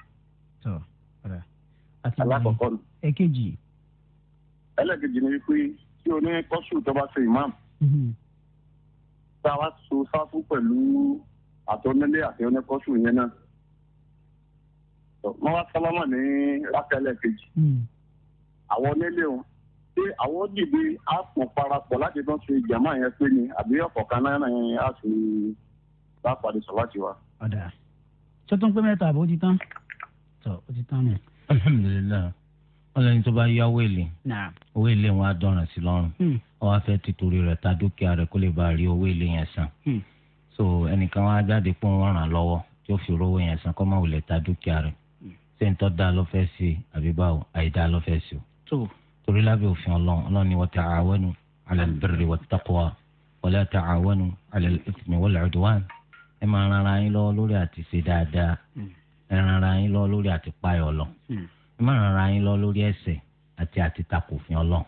Ah.
alákọ̀ọ́kọ́ ni.
ẹ̀kejì.
ẹlẹ́kejì ni pé tí o ní kọ́sù tó bá ṣe imam.
Mm-hmm.
tá a wá so sáfù pẹ̀lú àtọ́nílé àti oníkọ́sù yẹn náà wọ́n wá sálámà ní rákẹ́lẹ̀ kejì.
Mm-hmm.
àwọn onílé wọn pé àwọn dìde á pọ̀ parapọ̀ láti tán ṣe jàmá yẹn pé ni àbí ọ̀pọ̀ kan náírà yẹn á sì bá pàdé sọ láti wá.
ọ̀dà tó tún pé mẹ́ta àbó ti tán tó ó ti tán nù.
alhamdulilayi wọn lẹni tó bá yá owó èlé owó èlé wọn á dọ̀ràn sí lọ́rùn
Mm-hmm.
wọn á fẹ́ títorí rẹ̀ ta dúkìá rẹ̀ kó lè bá rí owó èlé yẹn san
Mm-hmm.
so ẹnìkan wá jáde pé wọn ràn lọ́wọ́ tí ó fi rówó yẹn san kó má wulẹ̀ ta dúkìá rẹ̀ ṣé ń tọ́ da ló fẹ́ ṣe àbí báwo àìdá ló fẹ́ ṣe o. torí lábẹ́ òfin ọlọ́run ọlọ́run ni wa ta'awanu 'ala al-birri wat-taqwa wa la ta'awanu 'ala al-ithmi wal-'udwan. ẹ máa ran ara yín lọ́wọ́ lórí àti ṣe dáadáa
Mm-hmm.
ẹ ran ara yín lọ́wọ́ lórí àti páyọ̀ lọ. ẹ máa ran ara yín lọ́wọ́ lórí ẹ̀ṣẹ̀ àti àti takòfin ọlọ́run.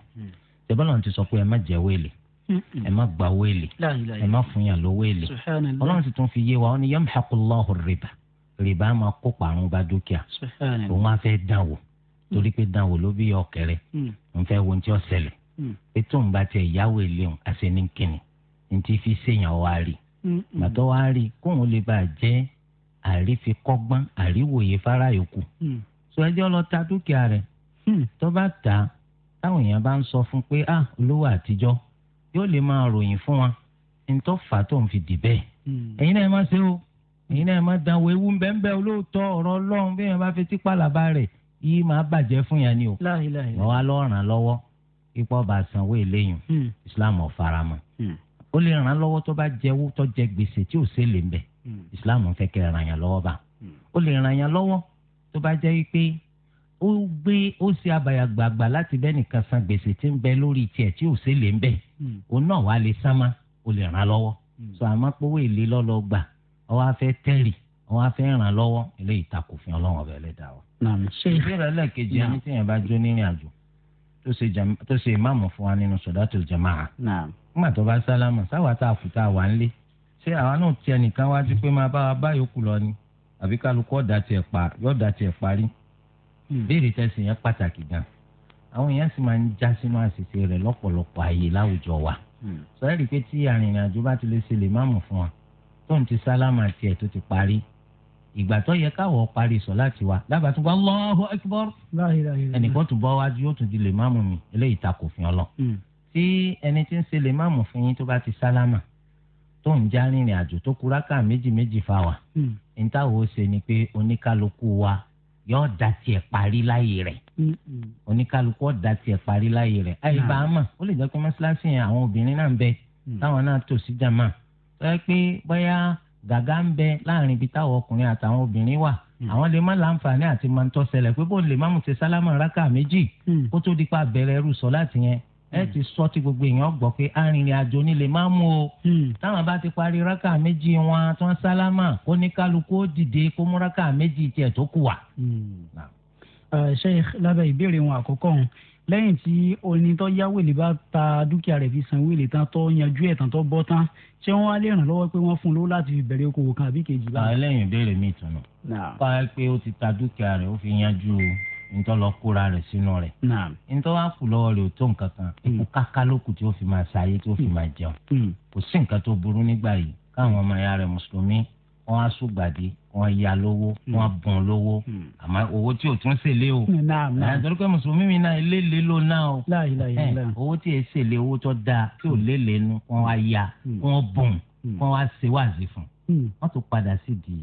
ṣèbọ́lọ́run ti sọ pé ẹ má jẹ́ wéèlì ẹ má gba wéèlì ẹ má fún yàn ló wéèlì ọlọ́run ti tún fi yé wa ó ní yamhaqullahu ar-riba rìbá máa kó parun bá dúkìá òun á fẹ́ dán wò torí pé dán wò ló bí ọkẹrẹ òun fẹ́ wo ti ọ̀sẹ̀lẹ̀ ètò òun bá tiẹ̀ yáwó ìléhùn àṣẹnìkìnì ní ti fi ṣèyàn wá rí gbàtọ́ wá rí kóun lè bá jẹ́ àrífikọ́gbọ́n àríwòye fara yòókù sọ ẹjọ́ lọ ta dúkìá rẹ̀ tó bá ta táwọn èèyàn bá ń sọ fún pé ah olówó àtijọ́ yóò lè máa ròyìn fún wa ní tó fà tó ń fi dì bẹ́ẹ̀ ẹ̀yin náà ẹ má ṣe o ẹ̀yin náà máa dán wo ewu bẹ́ẹ̀ olóòótọ́ ọ̀rọ̀ ọlọ́run bí yẹn bá fi tí pàlàbà rẹ̀ yìí máa bàjẹ́ fún yẹn ni o. wọ́n wá lọ́ọ́ ràn lọ́wọ́ ipò bá sanwó eléyìn islam ọ̀faramọ́. ó lè ràn lọ́wọ́ tó bá jẹ́wó tó jẹ gbèsè tí ò sí lè ń bẹ̀ islam fẹ́ kẹ́ ràn yàn lọ́wọ́ bá. ó lè ràn yàn lọ́wọ́ tó bá jẹ́ pé ó gbé ó ṣe abàyàgbàgbà láti bẹ́ nìkan san gbèsè tí ń bẹ lórí tiẹ̀ tí ò sí lè ń bẹ̀ òun náà wá lè sánmá ó lè ràn lọ́wọ́ sọ àmọ́ pé owó èlé lọ́lọ́ gbà ọwọ afẹ tẹrì ọwọ afẹ ràn lọ́wọ́ eléyìí takò fún Ọlọ́run ọbẹ ẹlẹ́dàá wa.
Hmm.
ṣé ìbéèrè ẹlẹ́ẹ̀kejì ẹni tí yẹn bá jó nírìn àjò tó ṣe ìmáàmù fún wa nínú sọ̀dátù jàmáà. nígbà tó bá sálámù sáwà tá a fò tá a wà ń lé ṣé àwa náà ti ẹnìkan wájú pé máa bá wa bá yòókù lọ ni àbí kálukú ọ̀dà tiẹ̀ pa yọ̀dà tiẹ̀ parí. ìbéèrè tẹ̀sí yẹn pàtàkì gan. àwọn èèyàn sì máa ń já sínú àṣìṣe rẹ̀ lọ́pọ̀lọpọ̀ ààyè láwùjọ wa. sọ̀rọ̀ rí pé tí arìnrìn-àjò bá ti lè ṣe lè máàmù fún wa tóun ti sálámà tiẹ̀ tó ti parí ìgbà tó yẹ káwọ̀ parí sọ láti wá lábàá tó bá Allahu Akbar ẹnìkan tó bọ́ wájú yóò tún di lè máàmù mi eléyìí ta kò fi ọ lọ. tí ẹni tí ń ṣe lè máàmù fún yín tó bá ti sálámà tó ń já rìnrìn àjò tó kura ká méjì méjì fa wa ìtawọ̀ ṣe ni pé oníkálukú wa yóò da tiẹ̀ parí láyé rẹ̀ oníkálukú ọ̀ da tiẹ̀ parí láyé rẹ̀ àyè bá a mọ̀ ó lè jẹ́ pé mọ́ṣáláṣí yẹn àwọn obìnrin náà ń bẹ́ẹ̀ táwọn náà tò sí jàmá tó yẹ pé bóyá gàgá ń bẹ láàrin ibi táwọn ọkùnrin àtàwọn obìnrin wà àwọn lè má láǹfààní àti máa ń tọ́ ṣẹlẹ̀ pé bó lè má mú ṣe sálámà rákà méjì kó tó di pa bẹ̀rẹ̀ ẹrú sọ láti yẹn ẹ ti sọ ti gbogbo èèyàn gbọ́ pé arìnrìn àjò ni lè má mú o táwọn bá ti parí rákà méjì wọn tó ń sálámà kó ní kálukú ó dìde kó mú rákà méjì tiẹ̀ tó kù wá.
Sheikh lábẹ́ ìbéèrè wọn àkọ́kọ́ ọ̀hún lẹ́yìn tí onítọ́ yá wèlé bá ta dúkìá rẹ̀ fi san wèlé tán tó yanjú ẹ̀ tán tó bọ́ tán ṣé wọ́n á lè ràn lọ́wọ́ pé wọ́n fún un lówó láti fi bẹ̀rẹ̀ okòwò kan àbí kejì
báyìí. lẹ́yìn ìbéèrè mi ìtùnú. bá a pé ó ti ta dúkìá rẹ̀ ó fi yanjú ntọ́lọ kóra rẹ̀ sínú rẹ̀. ntọ́ wa kù lọ́wọ́ rẹ̀ ó tó nǹkan kan ikú káká lókù tí ó fi máa ṣayé tí ó fi máa jẹun. kò sí nǹkan tó burú nígbà yìí káwọn ọmọ ya rẹ̀ mùsùlùmí wọn á sùgbàdì wọn ya lówó wọn bùn lówó àmọ́ owó tí o tún ṣèlé o
Hmm.
àtọ́rí pé mùsùlùmí mi náà eléle ló náà o owó tí e ṣèlé owó tó dáa tí ò lélẹ̀ nu wọn wá ya wọn bùn wọn wá ṣe wáàzì fún wọn tún padà sí di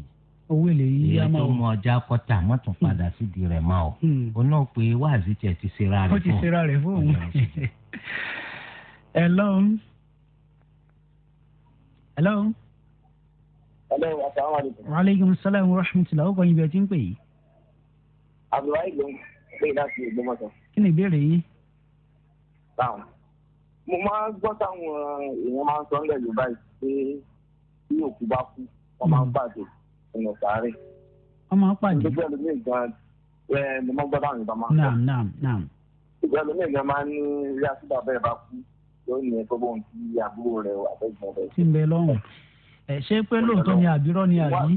Hmm. owó èlé yìí
yá máa o èyí tó mọ ọjà kọta wọn tún padà sí di rẹ̀ máa o òun náà pé wáàzì tiẹ̀ ti ṣera rẹ̀ fún
o Hmm. ti ṣera rẹ̀ fún òun [laughs] ẹ lọ́hùn ẹ lọ́hùn waaleykum salaam wa rahmatulah ọkọ yín bí ẹ ti ń pè yìí.
abdulwayi ló ń pè láti Ògbómọ̀ṣọ́.
kí ni ìbéèrè yín.
báwo mo máa ń gbọ́ táwọn èèyàn máa ń sọ ńlẹ̀ yorùbá yìí pé bí òkú bá kú wọ́n máa ń pàdé ọ̀nà sáré.
wọ́n máa ń pàdé.
ìgbésẹ̀ ẹlòmíì gan ẹ mo máa ń gbọ́ táwọn yorùbá máa
ń sọ. naam naam naam.
ìgbésẹ̀ ẹlòmíì gan máa ń ní rí àtúbà bẹ́ẹ̀ bá kú lónìí ẹ̀ tó bóun ti àbúrò rẹ̀ àtẹ̀gbọ́n rẹ̀.
ti ń bẹ lọ́rùn ẹ ṣé pé lóòótọ́ ni àbírọ́ ni àbí.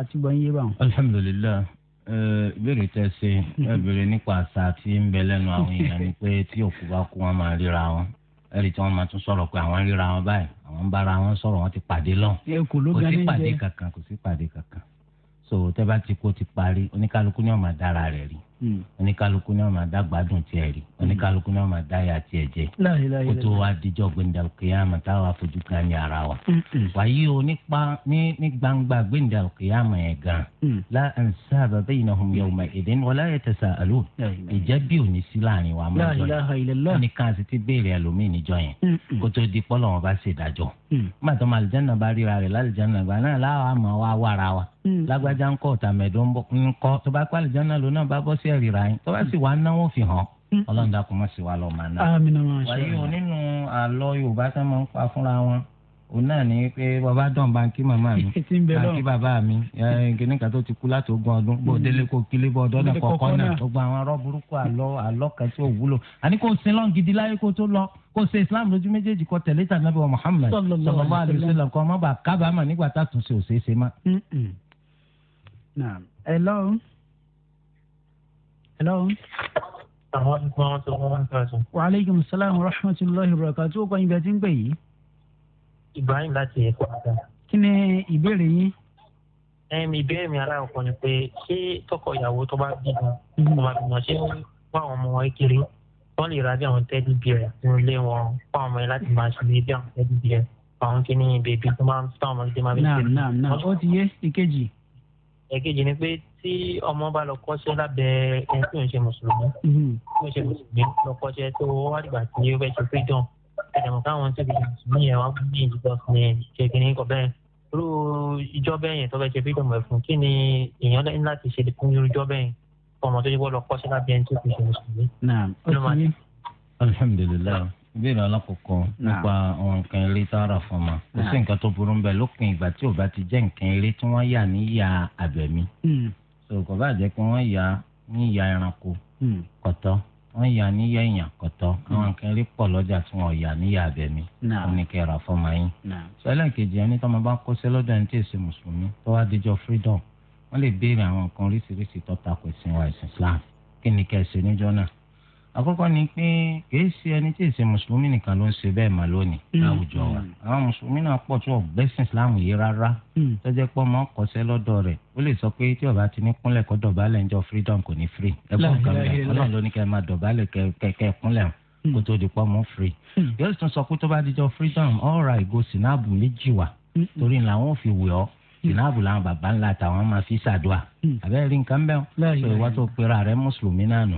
àtìgbọ̀nyé bá wọn.
alhamdulilayi ìbéèrè tẹ ṣe ìbéèrè nípa àṣà tí ń bẹ lẹ́nu àwọn èèyàn ni pé tí òkú bá kú wọn máa ríra wọn ẹ̀rí tí wọ́n máa tún sọ̀rọ̀ pé àwọn ríra wọn báyìí àwọn ń bára wọn sọ̀rọ̀ wọn ti pàdé lọ kò sí pàdé kankan kò sí pàdé kankan so tẹ́ bá ti kó ti parí oníkálukú ni wọ́n máa dára rẹ̀ rí
Hmm.
oníkálukú náà máa dá gbádùn tiẹ̀ rí oníkálukú náà máa dá ya tiẹ̀ jẹ kó tó wá díjọ́ gbẹ̀ndàlùkìyàmà táwa fojú kan ní ara wa.
Hmm,
wàyí o nípa ní gbangba gbẹ̀ndàlùkìyàmà yẹn gan
Hmm.
la ansaba bainahum yawma idin wala yatasalu ìjẹ́ bí ò ní sí láàrin wa máa jọ yẹn wọ́n ní ká sì ti béèrè ẹlòmíì níjọ yẹn
Hmm,
kó tó di pọ́lọ̀ wọn bá ṣe ìdájọ́. màtọ́ ma àlìjáná bá ríra rẹ̀ lálìjáná gbà náà láwa máa wá wára wa lágbájá ńkọ́ ọ̀tàmẹ̀dọ́ ńkọ́ tó bá pàlì jọ́nà lónà bá bọ́ sí ẹ̀rìrà yín tó bá sì wá náwó fi hàn ọlọ́run dàkú mọ́ sí wa lọ́ọ́ máa ná. wàyí o nínú àlọ́ yorùbá tá máa ń pa fúnra wọn òun náà ní pé bàbá dán báńkì màmá [laughs] mi báńkì bàbá mi kìnìún kan tó ti kú láti ogún ọdún bó délé kó kílé Mm. bó ọdọ́dọ̀ kọ̀ọ̀kan náà tó gba àwọn arọ́ burúkú àlọ́ àlọ́ kan tí ò wúlò àní kò sin lọ́n gidi láyé kó tó lọ kó ṣe islam lójú méjèèjì kó tẹ̀lé tànàbí wa muhammed sallallahu alaihi wasallam kó má bàa kábàámà nígbà tá a tún ṣe òṣèṣe má.
Naam. Hmm, Hello. Hello. Wa aleykum salaam wa rahmatulahi wa barakatuh. Ó kọ́ ibẹ̀ tí ń pè yìí.
Ibrahim láti Èkó Ada.
Kí ni ìbéèrè yín?
Ẹ̀mi ìbéèrè mi aláǹkọ́ ni pé ṣé tọkọ ìyàwó tó bá bímọ tó bá bímọ ṣé wọ́n àwọn ọmọ wọn kiri wọ́n lè ra bí àwọn tẹ́lí bíẹ̀ nínú ilé wọn fún àwọn ọmọ yẹn láti máa ṣe bí àwọn tẹ́lí bíẹ̀ àwọn kìíní bèbí tó máa ń tọ́ àwọn ọmọdé máa bí
ṣe. Naam naam ó ti yé ìkejì
ẹ̀kejì ni pé tí ọmọ bá lọ kọ́ṣẹ́ lábẹ́ ẹni tí ò ń ṣe mùsùlùmí
Hmm.
tí ò ń ṣe mùsùlùmí lọ kọ́ṣẹ́ tó wá dìgbà tí ó fẹ́ ṣe freedom ẹ̀dẹ̀mọ̀ káwọn tí kò ṣe mùsùlùmí yẹn wá fún ní ìjọba fún ní ìṣèkìní kọ bẹ́ẹ̀ irú ìjọ bẹ́ẹ̀ yẹn tó fẹ́ ṣe freedom ẹ̀ fún kí ni èèyàn lẹ́yìn láti ṣe fún irú ìjọ bẹ́ẹ̀ ọmọ tó ṣe wọ́n lọ kọ́ṣẹ́ lábẹ́ ẹni tí kò ṣe mùsùlùmí.
alhamdulilayi ìbéèrè alákọ̀ọ́kọ́ nípa àwọn nǹkan eré tá a rà fún ọmọ kò sí nǹkan tó burú bẹ́ẹ̀ lópin ìgbà tí ò bá ti jẹ́ nǹkan eré tí wọ́n yà ní ìyá abẹ̀mí
Hmm.
kò bá jẹ́ pé wọ́n yà ní ìyá ẹranko
Hmm.
kọ̀tọ́ wọ́n yà ní ìyá èèyàn kọ̀tọ́ àwọn nǹkan eré pọ̀ lọ́jà tí wọ́n yà ní ìyá abẹ̀mí wọ́n ní kẹ́ rà fún ọmọ yín. sọlá kejì ẹni tó máa bá kó sí lọ́dọ̀ ẹni tí èsì mùsùlùmí tó wá díjọ freedom wọ́n lè béèrè àwọn nǹkan oríṣiríṣi tó takò ìsìn wa ìsìn Islam kí ni kẹ́ ẹ ṣe níjọ́ náà àkọ́kọ́ ni pé kìí ṣe ẹni tí ìṣe mùsùlùmí nìkan ló ń ṣe bẹ́ẹ̀ mà lónìí láwùjọ wa àwọn mùsùlùmí náà pọ̀ tí wọ́n gbẹ́sìn islam yìí rárá
Hmm.
tọ́jẹ́ pọ́ mọ́ kọsẹ́ lọ́dọ̀ rẹ̀ ó lè sọ pé tí ọba ti ní kúnlẹ̀ kọ́ dọ̀bálẹ̀ ńjọ freedom kò ní free ẹ̀kọ́ kan bẹ́ẹ̀ ọlọ́run ló ní kẹ́ máa dọ̀bálẹ̀ kẹ́kẹ́ kúnlẹ̀ kó tó di pọ́ mọ́ free yóò tún sọ pé tó bá dijọ́ freedom all right go sinabu méjì wà torí làwọn ò fi wẹ̀ ọ́ sinabu làwọn bàbá ńlá àtàwọn máa fi ṣàdúà àbẹ́rẹ́ rí nǹkan bẹ́ẹ̀ sọ ìwà tó pera rẹ̀ mùsùlùmí náà nù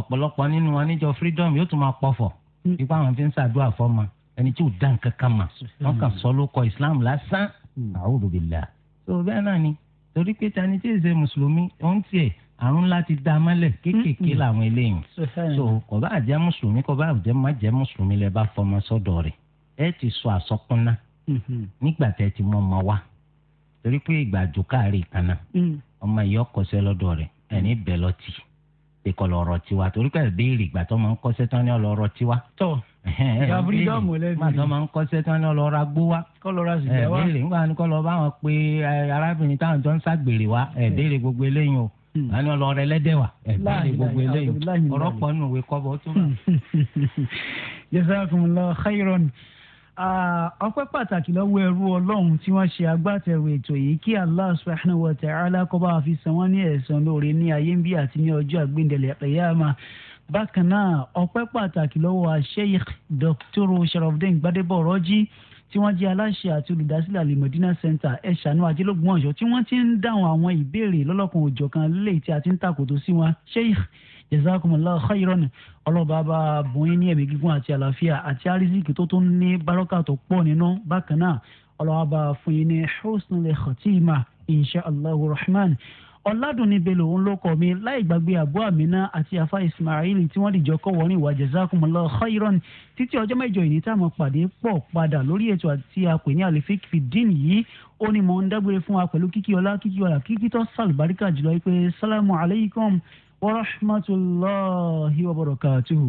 ọ̀pọ̀lọpọ̀ nínú wọn níjọ freedom yóò tún máa pọ̀fọ̀
Hmm.
ipá àwọn fi ń ṣàdúrà fọ́mà ẹni tí ò dá nǹkan kan mà wọ́n kàn sọ ló kọ islam lásán a'udhu billah. tó bẹ́ẹ̀ náà ni torí pé tani tí èsè mùsùlùmí òun tiẹ̀ àrùn ńlá ti da mọ́lẹ̀ kéékèèké làwọn eléyìí so kò bá jẹ́ mùsùlùmí kò bá jẹ́ má jẹ́ mùsùlùmí lẹ bá fọmọ sọ́dọ̀ rẹ̀ ẹ ti sọ àsọkúnná
Hmm.
nígbà tẹ́ ti mọ ọmọ wa torí pé ìgbà àjòkáàrí ìkànnà
Hmm.
ọmọ ìyá ọkọ̀ṣẹ́ lọ́dọ̀ rẹ̀ ẹni bẹ̀ lọ́tì ìkọlọ ọ̀rọ̀ tiwa torí pé ìbéèrè ìgbà tó máa ń kọ́ṣẹ́ tán ní ọlọ́rọ̀ tiwa.
tọ gabridọmù lẹbi
máa tó máa ń kọ́ṣẹ́ tán ní ọlọ́rọ̀ agbó wa.
kọlọra sì jẹ wa
ìbéèrè ńgbà ni kọlọ bá wọn pe arábìnrin táwọn jọ ń ṣàgbèrè wa ìbéèrè gbogbo eléyìí o àní ọlọ́rọ̀ ẹlẹ́dẹ̀ wa ìbéèrè gbogbo eléyìí ọ̀rọ̀ pọ̀ nù òwe kọ́bọ̀ tó wà.
[laughs] jazakumullahu khairan ọpẹ́ pàtàkì lọ́wọ́ ẹrú ọlọ́run tí wọ́n ṣe agbátẹrù ètò yìí kí allah subhanahu wa ta'ala kó bá fi san wọ́n ní ẹ̀san lóore ní ayé ń bí àti ní ọjọ́ àgbéǹdẹ̀lẹ̀ ẹ̀yàmà bákan náà ọpẹ́ pàtàkì lọ́wọ́ sheikh dr sharafdin gbadebo rọ́jí tí wọ́n jẹ́ aláṣẹ àti olùdásílẹ̀ alimọ̀dínà center ẹ̀ṣánú ajẹ́lógún ọ̀yọ́ tí wọ́n ti ń dáhùn àwọn ìbéèrè lọ́lọ́kan òjọ̀kan léyìí tí a ti ń tàkòtò sí wọn sheikh jazakumullahu khairan ọlọ́ba bá bóyin ní ẹ̀mí gígùn àti àlàáfíà àti àrísìkì tó tó ń ní bárọ́kà tó pọ̀ nínú bákan náà ọlọ́ba bá fún yín ní husnul khatima insha allahu rahman ọ̀làdùnní bello òun ló kọ́ mi láì gbàgbé àbú àmínà àti afa ismail tí wọ́n dìjọ kọ́ wọ́n ní ìwà jazakumullahu khairan títí ọjọ́ mẹ́jọ ìní tá a máa pàdé pọ̀ padà lórí ètò àti àpè ní alifik fìdín yìí ó ní mò ń dágbére fún wa pẹ̀lú kíkí ọlá kíkí ọlá kíkí tó sàlùbáríkà jùlọ pé sálámù alaykum. ورحمة الله وبركاته